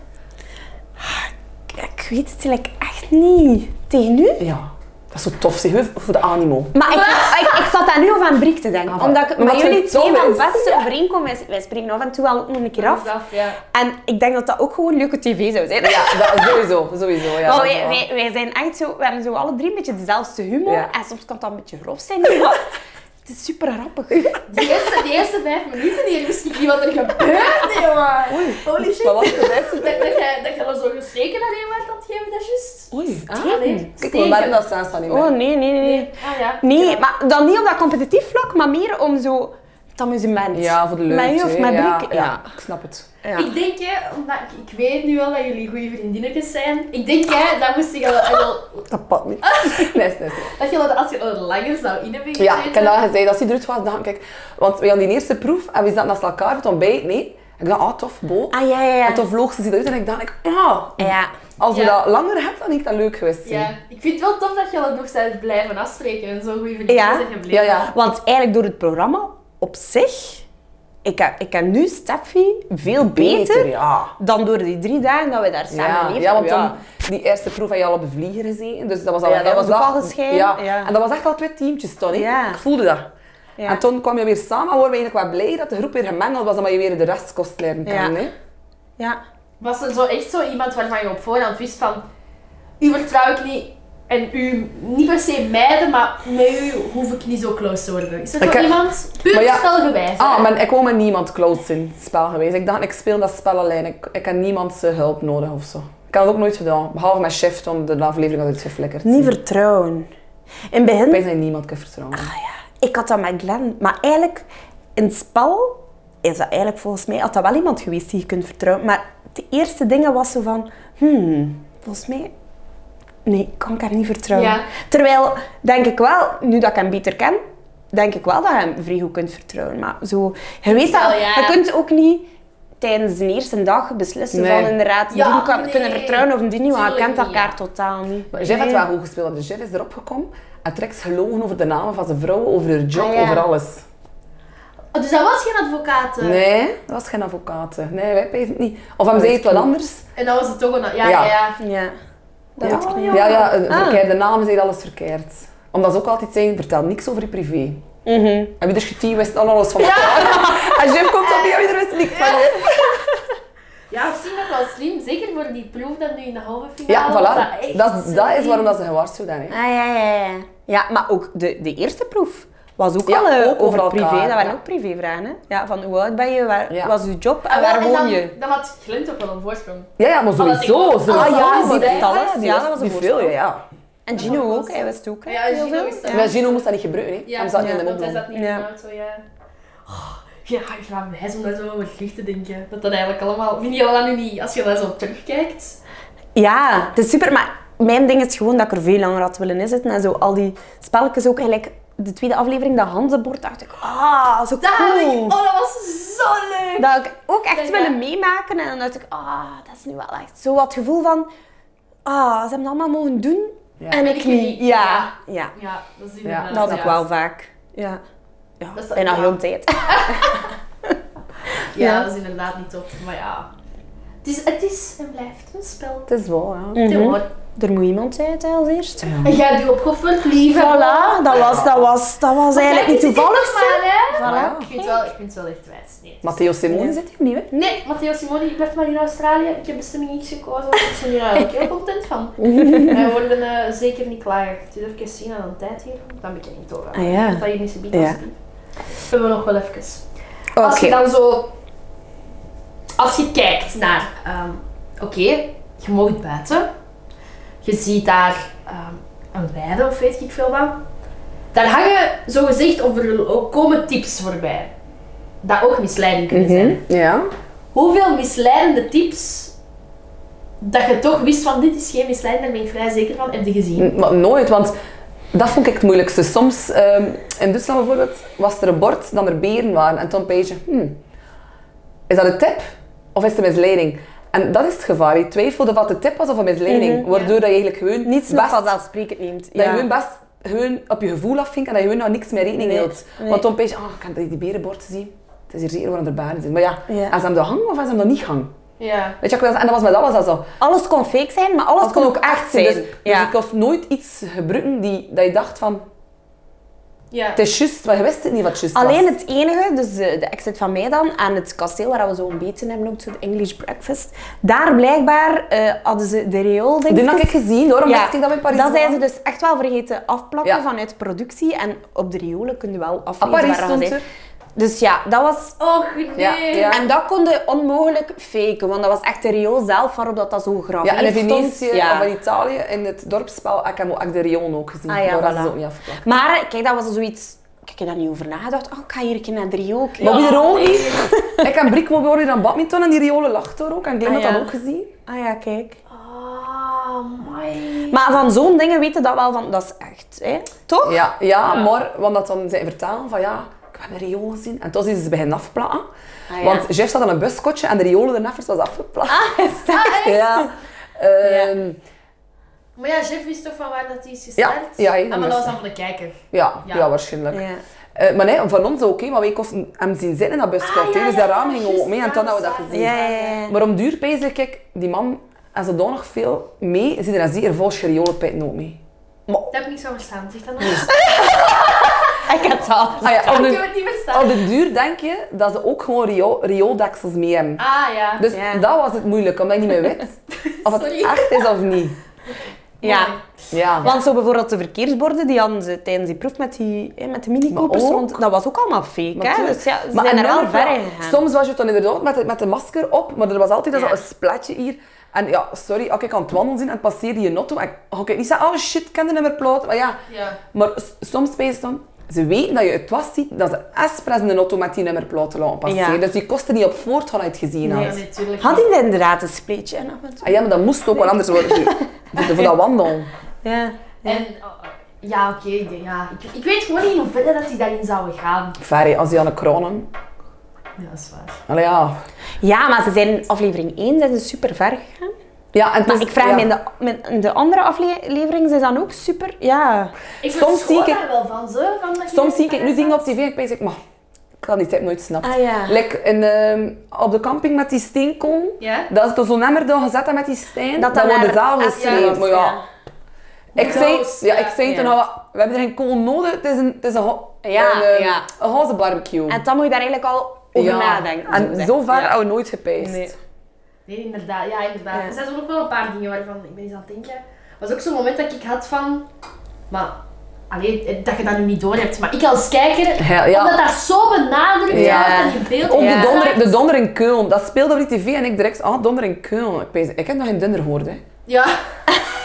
Ik- Ik weet het eigenlijk echt niet. Tegen nu?
Ja. Dat is zo tof, zeg. Heel Voor de animo.
Maar ik, ik, ik zat daar nu al aan Briek te denken.
Ah,
omdat ik
omdat
met
je
jullie
dom
twee wel
is.
best overeenkomen. Wij, wij spreken af en toe wel ook nog een keer af.
Af, ja.
En ik denk dat dat ook gewoon leuke tv zou zijn.
Ja, dat, sowieso. Sowieso, ja.
Maar
dat is
wij,
wel.
wij, wij zijn echt zo, Oh, we hebben zo alle drie een beetje dezelfde humor.
Ja.
En soms kan dat een beetje grof zijn, maar het is super grappig.
Die eerste, die eerste vijf minuten hier wist ik niet wat er gebeurde, jongen. Holy shit.
Maar
Dat,
wat is de beste?
dat, jij, dat jij er zo gestreken naar iemand aan het geven, dat is juist.
Oei. Ah.
Ah, nee.
Kijk, we waren dat staan staan niet
Oh
meer.
nee, nee, nee. Nee,
Ah, ja.
nee
Ja.
maar dan niet op dat competitief vlak, maar meer om zo het amusement.
Ja, voor de leuk.
Met u of
hè.
met
ja,
Briek.
ja, ik snap het.
Ja.
Ik denk, hè, omdat ik, ik weet nu wel dat jullie goede vriendinnetjes zijn. Ik denk, hè, dat moest ik al, al
Dat pad niet. Nee, nee, nee.
Dat je dat als je er langer zou in hebben
Ja, ik
gezeten.
heb dat gezegd. Als hij eruit was, dacht ik... Want we hadden die eerste proef en we zaten naast elkaar voor het ontbijt. Nee. Ik dacht, ah, tof, bo.
Ah ja, ja, ja.
En toen vloog ze eruit en ik dacht, ik, ah,
Ja.
als we
Ja.
dat langer hebt, dan ik dat leuk geweest zijn.
Ja, ik vind het wel tof dat je dat nog steeds blijven afspreken en zo goede vrienden
Ja.
zijn gebleven.
Ja, ja.
Want eigenlijk door het programma op zich, ik ken, ik ken nu Steffi veel beter,
ja.
dan door die drie dagen dat we daar samen
Ja,
leefden.
ja, want
Ja.
dan, die eerste proef had je al op de vlieger gezien. Dus dat was al
Ja, dat
heel
was ook
dag-
al gescheiden,
Ja.
ja.
en dat was echt al twee teamtjes toen. hè.
Ja.
Ik voelde dat.
Ja.
En toen kwam je weer samen en waren we eigenlijk wel blij dat de groep weer gemengeld was, omdat je weer de rest kost leren kan.
Ja.
hè.
Ja.
Was er zo echt zo iemand waarvan je op voorhand wist van... U vertrouw ik niet en u niet per se mijden, maar met u hoef ik niet zo close te worden. Is er
Ik
zo
heb-
iemand? Puur
Maar ja-
spelgewijs. hè?
Ah, maar ik wou met niemand close in het spel geweest. Ik dacht, ik speel dat spel alleen. Ik, ik heb niemands eh, hulp nodig of zo. Ik had het ook nooit gedaan. Behalve mijn chef, toen de aflevering had ik het geflikkerd.
Niet vertrouwen. In het begin,
Wij zijn niemand kan vertrouwen.
ah ja, ik had dat met Glenn. Maar eigenlijk, in het spel is dat eigenlijk volgens mij, had dat wel iemand geweest die je kunt vertrouwen. Maar de eerste dingen was zo van, hmm, volgens mij, nee, kan ik hem niet vertrouwen.
Ja.
Terwijl, denk ik wel, nu dat ik hem beter ken, denk ik wel dat je hem vrij goed kunt vertrouwen. Maar zo, je weet dat,
Wel, ja.
je kunt ook niet tijdens de eerste dag beslissen
Nee.
van inderdaad,
Ja,
die kan,
nee.
kunnen vertrouwen of die niet, want je
Tuurlijk
kent
niet,
elkaar
ja.
totaal niet.
Maar Jeff had wel goed gespeeld, want Jeff is erop gekomen en trekt gelogen over de namen van zijn vrouwen, over haar job,
Ah, ja.
over alles.
Oh, dus dat was geen advocaat. eh.
Nee, dat was geen advocaat. hè. Nee, wij pezen het niet. Of hem zei het wat anders.
En dat was het toch een... Ja, ja, ja.
Ja.
Ja. Dat
ja.
weet ik niet.
ja, ja, een
Ah.
verkeerde naam zei alles verkeerd. Omdat ze ook altijd zeggen, vertel niks over je privé.
Mhm.
En wie dus getie wist al alles van elkaar. En Jeff komt op, ja, wie er wist niks van.
Ja, misschien nog wel slim. Zeker voor die proef dat nu in de halve finale.
Ja,
was
voilà.
echt
Dat, is-
zo
dat is
slim.
waarom dat ze gewaarschuwd zijn. hè.
Ah, ja, ja, ja. Ja, maar ook de, de eerste proef was ook
Ja,
al eh,
ook over
over het privé.
elkaar,
Dat waren
ja.
ook privévragen, hè? Ja, van hoe oud ben je, waar
Ja.
was je job en,
Ah, wel,
waar
en
woon
dan-
je?
Dan had Glint ook wel een voorsprong.
Ja, ja,
dat
maar sowieso.
ik ook.
sowieso.
Ah, ja,
Die
die
wist
wist
alles.
die
Ja,
wist-
dat was een
die veel, ja,
voorstel.
ja.
En Gino ook, hij wist ook. hè,
Ja, Gino
heel veel.
wist dat.
Ja.
Maar Gino moest dat niet gebruiken, hè.
Ja,
Hem zat niet in de
want hij
mond.
zat niet in
Ja.
de auto, ja. Oh, ja, ik laat me wijs om daar zo over terug te denken. Dat dat eigenlijk allemaal... Vind je dat nu niet, als je daar zo op terugkijkt?
Ja, het is super. Maar mijn ding is gewoon dat ik er veel langer had willen inzitten. En zo al die spelletjes ook. Gelijk de tweede aflevering, dat Hanzenbord, dacht ik, ah, zo
Dat had ik...
cool.
Oh, dat was zo leuk!
Dat ik ook echt
Ja.
willen meemaken. En dan dacht ik, ah, dat is nu wel echt zo wat het gevoel van, ah, ze hebben dat allemaal mogen doen.
Ja.
En ik niet. Ja, ja.
Ja, dat is
Ja,
inderdaad...
Dat had ik
ja.
wel vaak. Ja. Ja,
Dat is-
bijna
ja.
heel de tijd.
Ja,
Ja.
dat is inderdaad niet top, maar ja... Het is, het is en blijft een spel.
Het is wel, ja.
Mhm.
Tegenwoordig.
Er moet iemand uit hè, als eerst.
Mm.
En jij hebt je opgeofferd, lieve.
Voilà, dat was, dat was, dat was eigenlijk niet toevallig.
Maar, hè?
Ja.
Ik, vind het wel, ik vind het wel echt wijs. Nee, het is-
Matteo Simone zit hier opnieuw, hè.
Nee, Matteo Simoni, ik blijf maar in Australië. Ik heb bestemming X gekozen, want ik ben hier eigenlijk heel content van. Wij worden eh, zeker niet klaar. Het is even zien aan de tijd hier, dan ben ik er niet over.
Ah, ja.
Dat je niet zo biedt
Ja.
ja. Hebben we nog wel even.
Oké.
Als je dan zo... Als je kijkt naar... ehm, Oké, je mag het buiten. Je ziet daar ehm, een weide of weet ik veel wat. Daar hangen zogezegd of er komen tips voorbij. Dat ook misleiding
Mhm.
kunnen zijn
Ja.
hoeveel misleidende tips dat je toch wist van dit is geen misleiding, daar ben ik vrij zeker van, heb je gezien.
N- Maar nooit, want dat vond ik het moeilijkste. Soms, ehm, in Duitsland bijvoorbeeld, was er een bord dat er beren waren. En Tom Page, hmm, is dat een tip of is het een misleiding? En dat is het gevaar. Je twijfelde of het een tip was of een misleiding. waardoor dat je eigenlijk gewoon
Niets nog
best,
vanzelfsprekend neemt.
dat je
Ja.
gewoon best gewoon op je gevoel afvinkt en dat je gewoon nou niks meer rekening
Nee,
hield.
nee.
Want Tom Page, ah, ik kan die die berenbord zien. Het is hier zeker waar er baren zijn. Maar ja,
Ja.
als ze hem dat hangen of als ze hem dat niet hangen?
Ja.
Weet je, en dat was met alles dat zo.
Alles kon fake zijn, maar alles
Dat
kon
kon
ook echt zijn.
Dus,
ja.
dus ik had nooit iets gebruiken die, dat je dacht van,
Ja.
het is juist, maar je wist het niet wat juist
Alleen
was.
het enige, dus de, de exit van mij dan, aan het kasteel waar we zo ontbeten hebben, ook zo'n English breakfast. Daar blijkbaar eh, hadden ze de riool
Die had ik gezien hoor, omdat
Ja,
ik dat in Parijs
dat zijn ze
was.
dus echt wel vergeten afplakken
Ja.
vanuit productie. En op de riolen kun je wel
Ah,
aflezen
Parijs
waar dat
stond
is.
er.
Dus ja, dat was...
Oh,
Och nee.
Ja, ja.
En dat kon je onmogelijk faken, want dat was echt de riool zelf waarop dat, dat zo graveerd
Ja, en in Venetië
stond. dus. Ja.
of in Italië, in het dorpsspel, ik heb ook de Rion ook gezien.
Ah, ja,
maar dat
voilà.
is ook niet afgeplakt.
Maar kijk, dat was zoiets... Ik heb daar niet over nagedacht. Oh, ik ga hier een keer naar de riool kijken.
Maar wie er ook
nee.
niet. Ik en Brik worden hier aan badminton en die riolen lacht er ook. En Glenn
Ah, ja.
had dat ook gezien.
Ah ja, kijk.
Ah, my.
Maar van zo'n dingen weten dat wel van, dat is echt, hè? Toch?
Ja, ja, maar want dat dan zijn vertalen van ja, ik heb een riool gezien. En toen is ze beginnen afplakken.
Ah, ja.
Want Jeff zat aan een buskotje en de riolen ernaast was afgeplakt.
Is dat-
ja. Ehm,
Maar ja, Jeff wist toch van waar dat hij is
Ja,
gestart?
ja,
ah, maar dat
juist.
was dan van de kijker.
ja, ja.
Ja.
waarschijnlijk.
Ja.
Eh, maar nee, van ons ook, hè, maar wij konden hem zien zitten in dat buskot.
Ah, ja,
hè. dus
ja,
dat
ja,
raam ging
juist,
ook mee en
ja,
toen
dat
hadden we dat
is waar,
gezien.
Ja, ja, ja.
Maar om duur pijs ik, ik, die man, als ze daar nog veel mee, zit er als die er vol scheriolenpijten ook mee. Maar,
Dat heb ik niet zo verstaan, zeg dat nog eens.
Ik had het al.
ah ja,
Ik
op,
heb
de,
het niet
op
verstaan.
de duur denk je dat ze ook gewoon rio- riooldeksels mee hebben.
Ah ja.
Dus
Ja.
dat was het moeilijk, omdat je niet meer weet of het
Sorry.
echt is of niet.
Ja.
Ja.
Want zo bijvoorbeeld de verkeersborden, die hadden ze tijdens die proef met, die, hè, met de minikopers
Maar ook-
rond, dat was ook allemaal fake,
Maar
hè?
tuurlijk.
Dus ja, ze
Maar
zijn
en
er wel
dan heb
ver
je-
in gegaan.
Soms was je dan inderdaad met de, met de masker op, maar er was altijd
Ja.
zo'n splatje hier. En ja, sorry, als ik aan het wandelen ben en het passeerde je auto, en ik- ga ik niet zeggen, oh shit, ik ken de nummerplaat. Maar ja,
Ja.
maar s- soms ben je dan, ze weten dat je het was ziet, dat ze expres een auto met die nummerplaat te laten passeren.
Ja.
Dus die kosten niet op voorhand had je het gezien had.
Nee, natuurlijk.
Had ik inderdaad een spleetje nog met
Ah ja, maar dat moest ook wel anders worden. Voor, voor dat wandelen.
Ja.
En oh, oh, ja, oké, ik denk, ja. Ik, ik weet gewoon niet hoe verder dat die daarin zouden gaan.
Ferry, als die aan de kronen.
Ja, dat is waar.
Allee, ja.
ja, maar ze zijn in aflevering 1 zijn ze super ver gegaan.
ja en het
Maar
is-
ik vraag
Dus ja.
me, in de, met- in de andere aflevering zijn ze dan ook super... Ja.
Ik
Soms
verschoon
zie ik-
daar wel van zo. Van dat je
Soms zie ik nu
ergens
dingen op
staat.
tv en ik denk, maar ik had die tip nooit snapt.
Ah, ja.
Like in, ehm, op de camping met die steenkool.
Ja?
Dat ze er zo'n emmer door gezet hebben met die
Dat
steen. Dat,
dat
wordt de
naar-
zaal
ah,
gesleept.
ja.
maar ja. Ik zei,
Doos,
ja,
ja.
ik zei toen
Ja.
al, we hebben geen kool nodig, het is een, het is een, ho-
Ja,
een, ehm,
ja.
een roze barbecue.
En dan moet je daar eigenlijk al over
Ja.
nadenken.
En
zeg.
zo ver
Ja.
hadden we nooit gepijst.
Nee.
Nee, inderdaad. Ja, inderdaad.
Ja.
Er zijn ook wel een paar dingen waarvan ik ben eens aan het denken. was ook zo'n moment dat ik had van... Maar... Allee, eh, dat je dat nu niet door hebt. Maar ik als kijker...
Ja, ja.
Omdat dat zo benadrukt
Ja.
wordt en in beeld
Ook
Ja.
de, donder, de donder in Keulen, dat speelde op die tv en ik direct, ah, donder in Keulen. Ik, pijs, ik heb nog geen donder gehoord, hè.
Ja.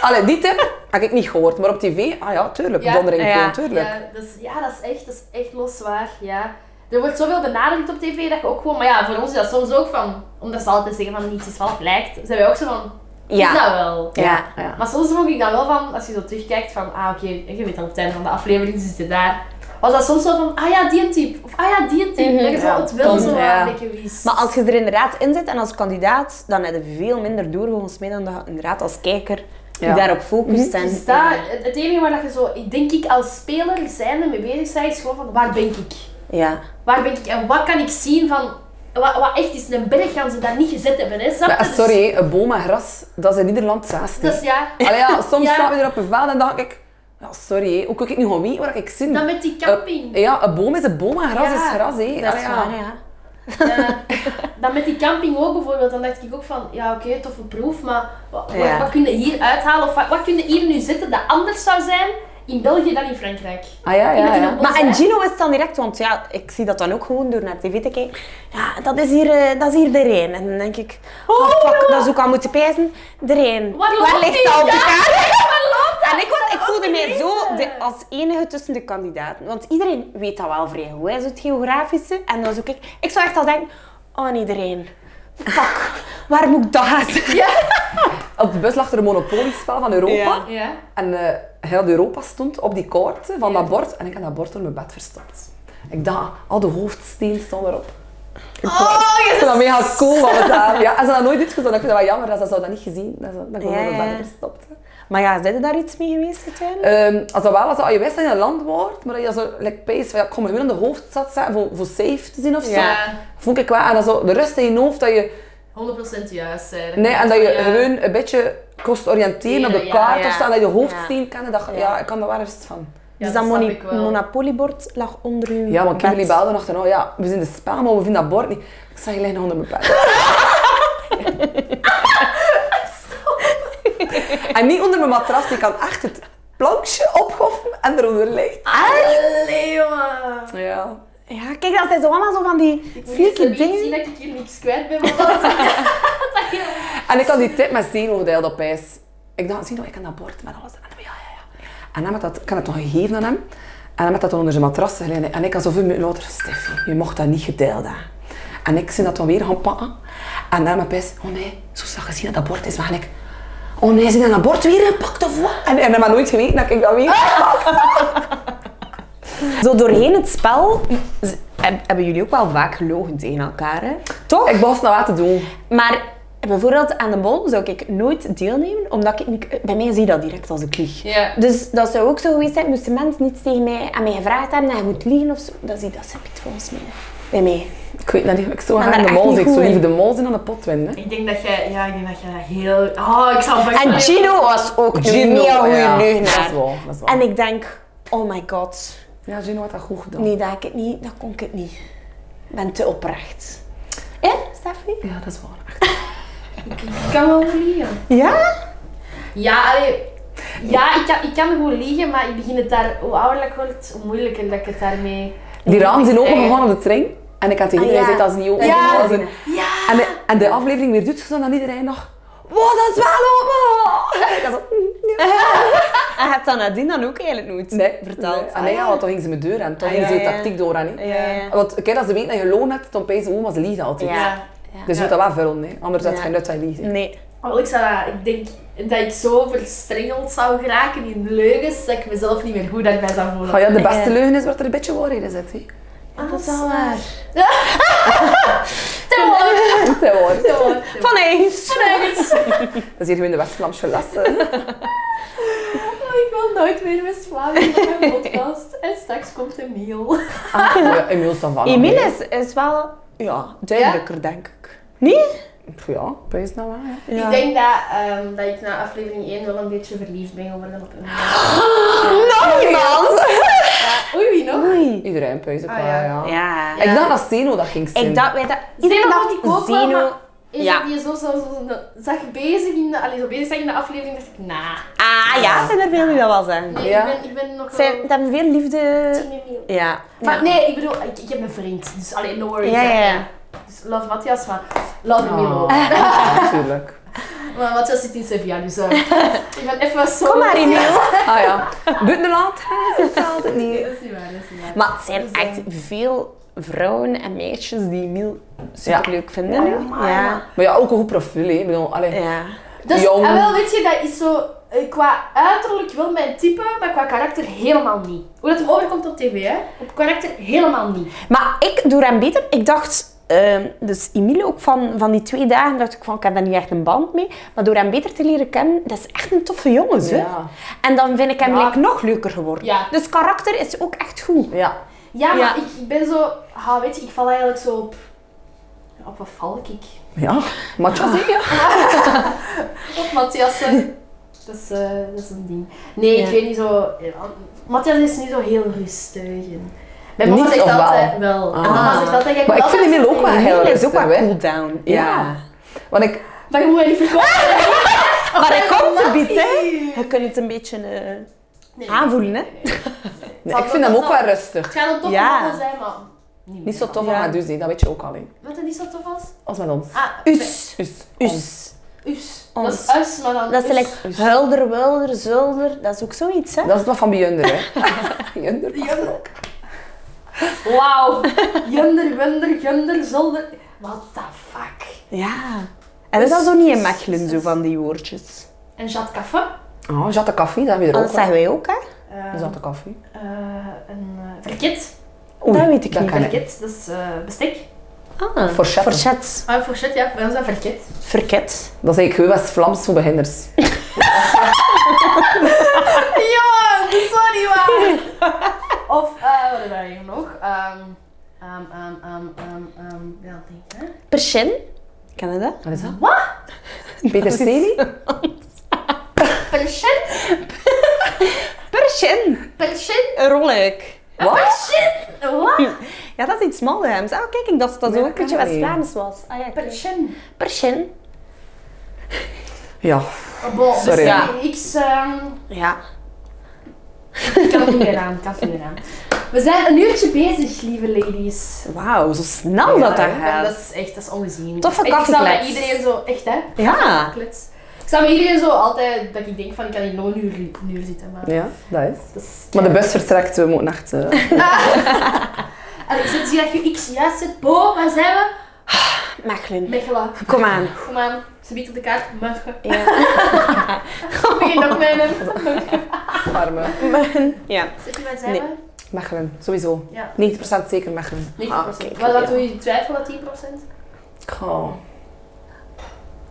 Allee, die tip had ik niet gehoord, maar op tv, ah ja, tuurlijk,
Ja.
donder in
Ja.
Keulen, tuurlijk.
Ja, dus, ja dat, is echt, dat is echt loswaar. Ja. Er wordt zoveel benadrukt op tv dat je ook gewoon... Maar ja, voor ons is dat soms ook van... Omdat ze altijd zeggen van niets is wat lijkt. Zijn wij ook zo van...
Ja.
Is dat wel?
Ja.
Ja.
Maar soms vond ik dan wel van, als je zo terugkijkt van, ah oké, je weet al op het einde van de aflevering zit je daar. Was dat soms wel van, ah ja, die type. Of ah ja, die type.
Mhm.
dat je zo
Ja,
het wel
soms,
zo
ja.
een beetje wist.
Maar als je er inderdaad in zit en als kandidaat, dan heb je veel minder door volgens mij dan dat je inderdaad als kijker je
Ja. Mhm.
daarop focust. En,
Dus dat, het het enige waar dat je zo, ik denk ik als speler zijnde mee bezig bent, is gewoon van, waar ben ik?
Ja.
Waar ben ik en wat kan ik zien van, wat, wat echt is, een berg gaan ze daar niet gezet hebben, hè? Snap je?
Maar,
Dus-
eh, sorry, hè, een boom en gras, dat is in Nederland zaasten.
Dus ja,
Allee, ja, soms
Ja.
staan we er op een veld en dacht ik, ja, sorry, hè, hoe kan ik nu gewoon weten waar ik zin?
dan met die camping.
Eh, ja, een boom is een boom en gras
Ja,
is gras.
Dat
Hè. Allee,
is
ja.
waar, ja.
Ja, dan met die camping ook bijvoorbeeld, dan dacht ik ook van, ja oké, toffe proef, maar wat,
Ja.
wat, wat kun je hier uithalen of wat, wat kun je hier nu zetten dat anders zou zijn in België dan in Frankrijk?
Ah ja, ja,
Ik
ja.
bedoel-
Maar en Gino is dan direct, want ja, ik zie dat dan ook gewoon door naar tv te kijken. Ja, dat is hier, eh, dat is hier de Rijn. En dan denk ik, oh fuck, dat zou ik al moeten pijzen. De Rijn,
Waar
waar,
loopt
ligt
die?
dat op de
Ja,
kaart?
Waar loopt dat?
En ik, was, ik voelde mij
gelezen.
zo de, als enige tussen de kandidaten. Want iedereen weet dat wel vrij goed, hè, zo het geografische. En dan zoek ik, ik zou echt al denken, oh nee, de Rijn. Fuck, waar moet ik dat gaan zeggen?
Op de bus lag er een monopoliespel van Europa.
Ja.
Ja.
En eh, heel Europa stond op die kaart van dat bord. En ik had dat bord door mijn bed verstopt. Ik dacht, al de hoofdsteen stond erop.
Oh,
Ik
je
vind dat mega cool van het daar. Ja, en ze hadden nooit iets gedaan. Ik vind dat wel jammer dat ze dat niet gezien Dat ze dat gewoon
Ja,
door mijn
ja.
bed verstopt. hè.
Maar ja, zijn er daar iets mee geweest, Tuin?
Ehm, als dat wel, als dat, je wist dat je een land wordt, maar dat je zo like, pees van, ja, ik kom gewoon aan de hoofdstad zetten voor, voor safe te zien of zo.
Ja.
Vond ik wel. En dat zo, de rust in je hoofd, dat je,
100% juist. Hè.
nee, en dat je
Ja.
gewoon een beetje kost oriënteren op de
Ja,
kaart
ja.
of zo, en dat je hoofdsteen kan. En dat, je-
Ja.
ja, ik kan daar wel rust van.
Ja,
dus
dat
dat,
snap
moni-
ik wel.
monopoliebord lag onder uw
Ja, want
bed.
Kimberly belde nog daarna, ja, we zijn de spel, maar we vinden dat bord niet. Ik zag je liggen onder mijn bed. en niet onder mijn matras, die kan echt het plankje opgoffen en eronder ligt.
Ah. Allee, jongen.
Ja.
Ja, kijk, dat zijn zo allemaal zo van die zieke
Ik zie
dingen.
dat ik hier niks kwijt ben, maar dat dat je-
En ik had die tip met Zeno gedeeld op ijs. Ik dacht, Zeno, ik kan dat bord met alles. En hij, ja, ja, ja. En hij had dat, ik had het toch gegeven aan hem. En hij had dat dan onder zijn matras gelegen. En ik had zoveel minuten later, Steffi, je mocht dat niet gedeeld hebben. En ik ben dat dan weer gaan pakken. En dan heb ik oh nee, zo zag je zien dat dat bord is. Maar ik, oh nee, zijn dat bord weer gepakt of wat? En, en hij had nooit geweten dat ik dat weer
Zo doorheen het spel z- heb- hebben jullie ook wel vaak gelogen tegen elkaar, hè? Toch?
Ik was nou wat te doen.
Maar bijvoorbeeld aan de bol zou ik nooit deelnemen, omdat ik niet- Bij mij zie je dat direct als ik lieg.
Ja.
Dus dat zou ook zo geweest zijn, moesten mensen niets tegen mij aan mij gevraagd hebben dat je moet liegen of zo. Dat is dat heb ik volgens mij. Bij mij.
Ik weet dat niet, ik zou
Maar
aan
daar
de
echt
mol
niet
zijn. Ik zou
goed
liever
in.
de mol zijn dan de pot winnen. hè.
Ik denk dat jij, ja, ik denk dat jij dat heel... Oh, ik zal
En Gino was ook een
Gino,
mega goede
ja.
leugenaar.
Dat is wel, dat is wel.
En ik denk, oh my god,
Ja, Gino had dat goed gedaan.
nee, dat, heb ik het niet, dat kon ik het niet. Ik ben te oprecht. Hè, Steffi?
Ja, dat is waar.
Ik kan wel liegen.
Ja?
Ja, allee, ja ik, kan, ik kan gewoon liegen, maar ik begin het daar, hoe ouder ik word, hoe moeilijker dat ik het daarmee...
Die ramen zijn
Ja.
opengegaan op de trein. En ik had tegen
Ah, ja.
iedereen gezegd, dat is niet open.
Ja.
dat is niet-
Ja!
En, de, en de aflevering weer doet ze dan dat iedereen nog... Wow, dat is wel open! En ik was zo, "Mm, ja."
en je hebt dat nadien dan ook eigenlijk nooit
Nee,
verteld.
Nee.
Ah,
Ah, nee,
ja.
ja, want dan ging ze mijn deur aan. Toen
Ah,
ging
ja,
ze je
ja.
tactiek door aan. hè.
Ja, Oh, ja.
Want kijk, als ze weten dat je loon hebt, dan pijzen ze, oh, maar ze liegen altijd.
Ja.
Dus je
Ja.
moet dat wel vullen, hè. anders had
Ja. Mm.
je geen nut dat je liegt. hè.
Nee.
Oh, ik, zou, dat- ik denk dat ik zo verstrengeld zou geraken in leugens dat ik mezelf niet meer goed daarbij zou voelen.
Ah ja, de
Ja.
beste leugen is wat er een beetje waarheid in zit. hè.
Ah,
Kom op.
Goed, hè, waar.
Te hoor, te hoor.
Van eens.
Nergens.
Dat is hier gewoon de West-Vlaamse lasten.
Oh, ik wil nooit meer met Slaven in mijn podcast. En straks komt Emiel.
Ah, ja, Emiel is dan van.
Emile is, is wel ja, duidelijker, denk ik. Nee?
Pff, Ja, pijs nou wel. ja.
Ja.
Ik denk dat, ehm, dat ik na aflevering 1 wel een beetje verliefd ben geworden op Emiel.
Nog iemand!
Ja, oei, wie nog?
Oei.
Iedereen pijs ook
Ah,
wel,
ja.
ja.
Ja.
Ik dacht dat Steno dat ging zijn.
Ik dacht, weet dat...
Zeno
dacht
had ik ook wel,
Zeno-
maar Is
Ja.
dat die zo, zo, zo, zo- zag bezig in de, allee, zo bezig zag in de aflevering, dacht ik, nah.
Ah ja, zijn er veel die dat wel zijn.
Nee,
Ja.
ik, ben, ik ben nog
Zijn,
wel...
dat hebben veel liefde...
Team Emiel.
Ja.
Maar
Ja.
nee, ik bedoel, ik, ik heb een vriend, dus alleen no worries.
Ja,
hè.
ja, ja.
Dus love Matthias, maar love
Ah,
Emiel ook.
natuurlijk.
Maar Matthias zit in Sevilla, dus eh, ik ben even zo...
Kom maar, Emiel.
Ah ja. Bunderland, dat is altijd
Nee,
niet.
dat is niet waar, dat is niet waar.
Maar het zijn
Dus, eh,
echt veel vrouwen en meisjes die Emiel superleuk vinden.
Ja, maar-
ja.
Maar ja, ook een goed profiel, hè. Ik bedoel, allee.
ja.
Dus,
Jong.
en wel, weet je, dat is zo... eh, Qua uiterlijk wel mijn type, maar qua karakter helemaal niet. Hoe dat hem overkomt op tv, hè. Op karakter helemaal niet.
Maar ik, door hem beter, ik dacht, ehm, dus Emile ook van, van die twee dagen, dacht ik van, ik heb daar niet echt een band mee. Maar door hem beter te leren kennen, dat is echt een toffe jongen, hè.
Ja.
En dan vind ik hem
Ja.
like, nog leuker geworden.
Ja.
Dus karakter is ook echt goed.
Ja.
Ja, maar
Ja.
Ik, ik ben zo... Ah, weet je, ik val eigenlijk zo op... Op wat val ik?
Ja. Maar
Ah,
tja, zeg je.
Op Matthias. hè. dat, is, eh, dat is een ding. Nee,
Ja.
ik weet niet zo... ja, Matthias is niet zo heel rustig. En... Mijn mama
Niet,
zegt
of wel?
altijd... Wel.
Ah.
Mijn mama zegt altijd... jij
Maar
moet
ik vind
altijd
Emile ook wel
rustig
heel
Emile is
rustig,
ook wel
hè.
cool down.
Ja.
ja.
Want ik...
zijn. Maar je moet mij niet verkopen.
Maar hij komt te bied, hè.
Nee.
Je kunt het een beetje eh,
Nee.
aanvoelen, hè.
Nee, ik vind hem ook wel rustig.
Het gaat een toffe
Ja.
mannen zijn, maar... Niet,
Niet zo tof
Ja.
aan haar dus, hè. dat weet je ook al. hè.
Wat dat niet zo tof was?
Als met ons.
Ah,
Us.
Us.
Us.
Us.
Ons.
Dat is us, maar dan
Dat is
us.
like hulder, wilder, zulder. Dat is ook zoiets, hè.
Dat is het wat van Beyonder, hè. Beyonder past er ook.
Wauw. Junder, wunder, junder, zolder. What the fuck?
Ja. En dat is dat zo niet in Mechelen, zo van die woordjes.
En Jat Café?
Ah, Jatte Koffie, dat hebben we er
Dat
ook.
zeggen wij ook, hè.
Eh,
Jatte Koffie.
eh, een eh, verkit.
Oei,
dat weet ik
dat
niet.
kan ik.
Verkit, dat is eh, bestek.
Ah,
Fourchette.
Forchet.
Ah, voor shit, ja, bij ons is dat verkit.
Verket.
Dat is eigenlijk West-Vlaams voor beginners.
Jongen, dat is zo niet waar. Of, eh, wat hebben we hier nog? Ehm, ehm, ehm, ehm, ehm, ehm, ja, dat denk ik, hè?
Persin. Ken je dat?
Wat is dat?
Wat?
Peter Steli?
Persin?
Persin.
Persin?
Een rolluik.
Wat?
Persin? Eh, Wat?
Ja, dat is iets Maldehems. Ah, kijk, ik dacht dat dat
Nee,
zo
dat
ook een beetje
ken ik niet.
West-Vlaams was. Ah, ja, kijk.
Persin.
Persin.
Ja.
Oh, bon, dus
Sorry.
ja, ik, ehm,
Ja.
ik kan het niet meer aan, ik kan het niet meer aan. We zijn een uurtje bezig, lieve ladies.
Wauw, zo snel dat dat gaat.
Dat is echt, dat is ongezien.
Toffe
Ik zou bij
kaffieklets.
iedereen zo, echt hè?
Ja.
Klets. Ik zou met iedereen zo altijd, dat ik denk van ik kan hier nog een uur, een uur zitten, maar
Ja, dat is.
dat is...
Maar de bus vertrekt, we moeten echt... eh,
En ik zit hier dat je X juist zit, Bo, waar zijn we?
Mechelen.
Mechelen.
Kom aan.
Kom aan, ze biedt op de kaart, Mechelen.
Ja.
Ik begin nog met hem.
Arme.
ja.
Zit je waar zijn
Nee.
we?
Mechelen, sowieso.
Ja,
90% zeker Mechelen.
90%.
Ah, oké.
wat, wat doe je twijfel dat 10%?
Oh.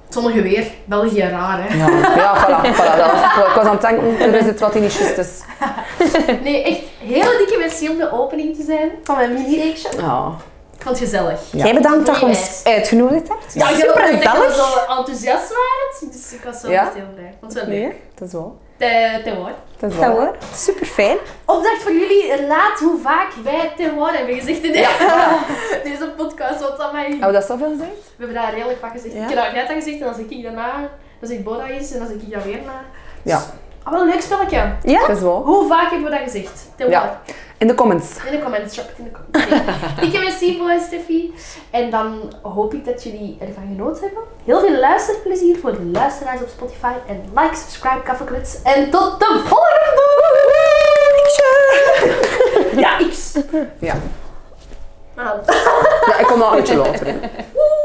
Zonnige weer, België raar hè.
Ja, ja voilà, voilà. Dat was, ik was aan het denken, er is het wat in niet juist is.
Nee, echt hele dikke merci om de opening te zijn van mijn mini-reaction.
Ja.
Ik vond het gezellig.
Ja.
Jij bedankt dat je
Goeiewijs.
ons uitgenodigd hebt.
ik heb
Super
ook gemerkt dat we
gezellig.
zo enthousiast waren, dus ik was wel
Ja?
echt heel blij. Ik vond het wel leuk.
Nee,
Het is wel.
Te, te hoor.
Het is
dat
wel.
hoor. Super fijn.
Opdracht voor jullie, laat hoe vaak wij te hoor hebben gezegd in de- deze podcast. Want aan mij,
Hebben we dat zoveel gezegd?
we hebben daar redelijk vaak gezegd.
Ja.
Ik heb dat, jij hebt dat gezegd en dan zeg ik daarna, dan zeg ik Bona is en dan zeg ik dat weer na.
Ja.
Ah, wel een leuk spelletje.
Ja?
Dat is wel.
Hoe vaak hebben we dat gezegd? Tel maar.
Ja. In de comments.
In de comments, drop het in de comments. Nee. Ik heb een Sibo en Steffi. En dan hoop ik dat jullie ervan genoten hebben. Heel veel luisterplezier voor de luisteraars op Spotify. En like, subscribe, kaffeeklets. En tot de volgende! Ja, X.
Ja.
Ah,
ja ik kom al een beetje later. in.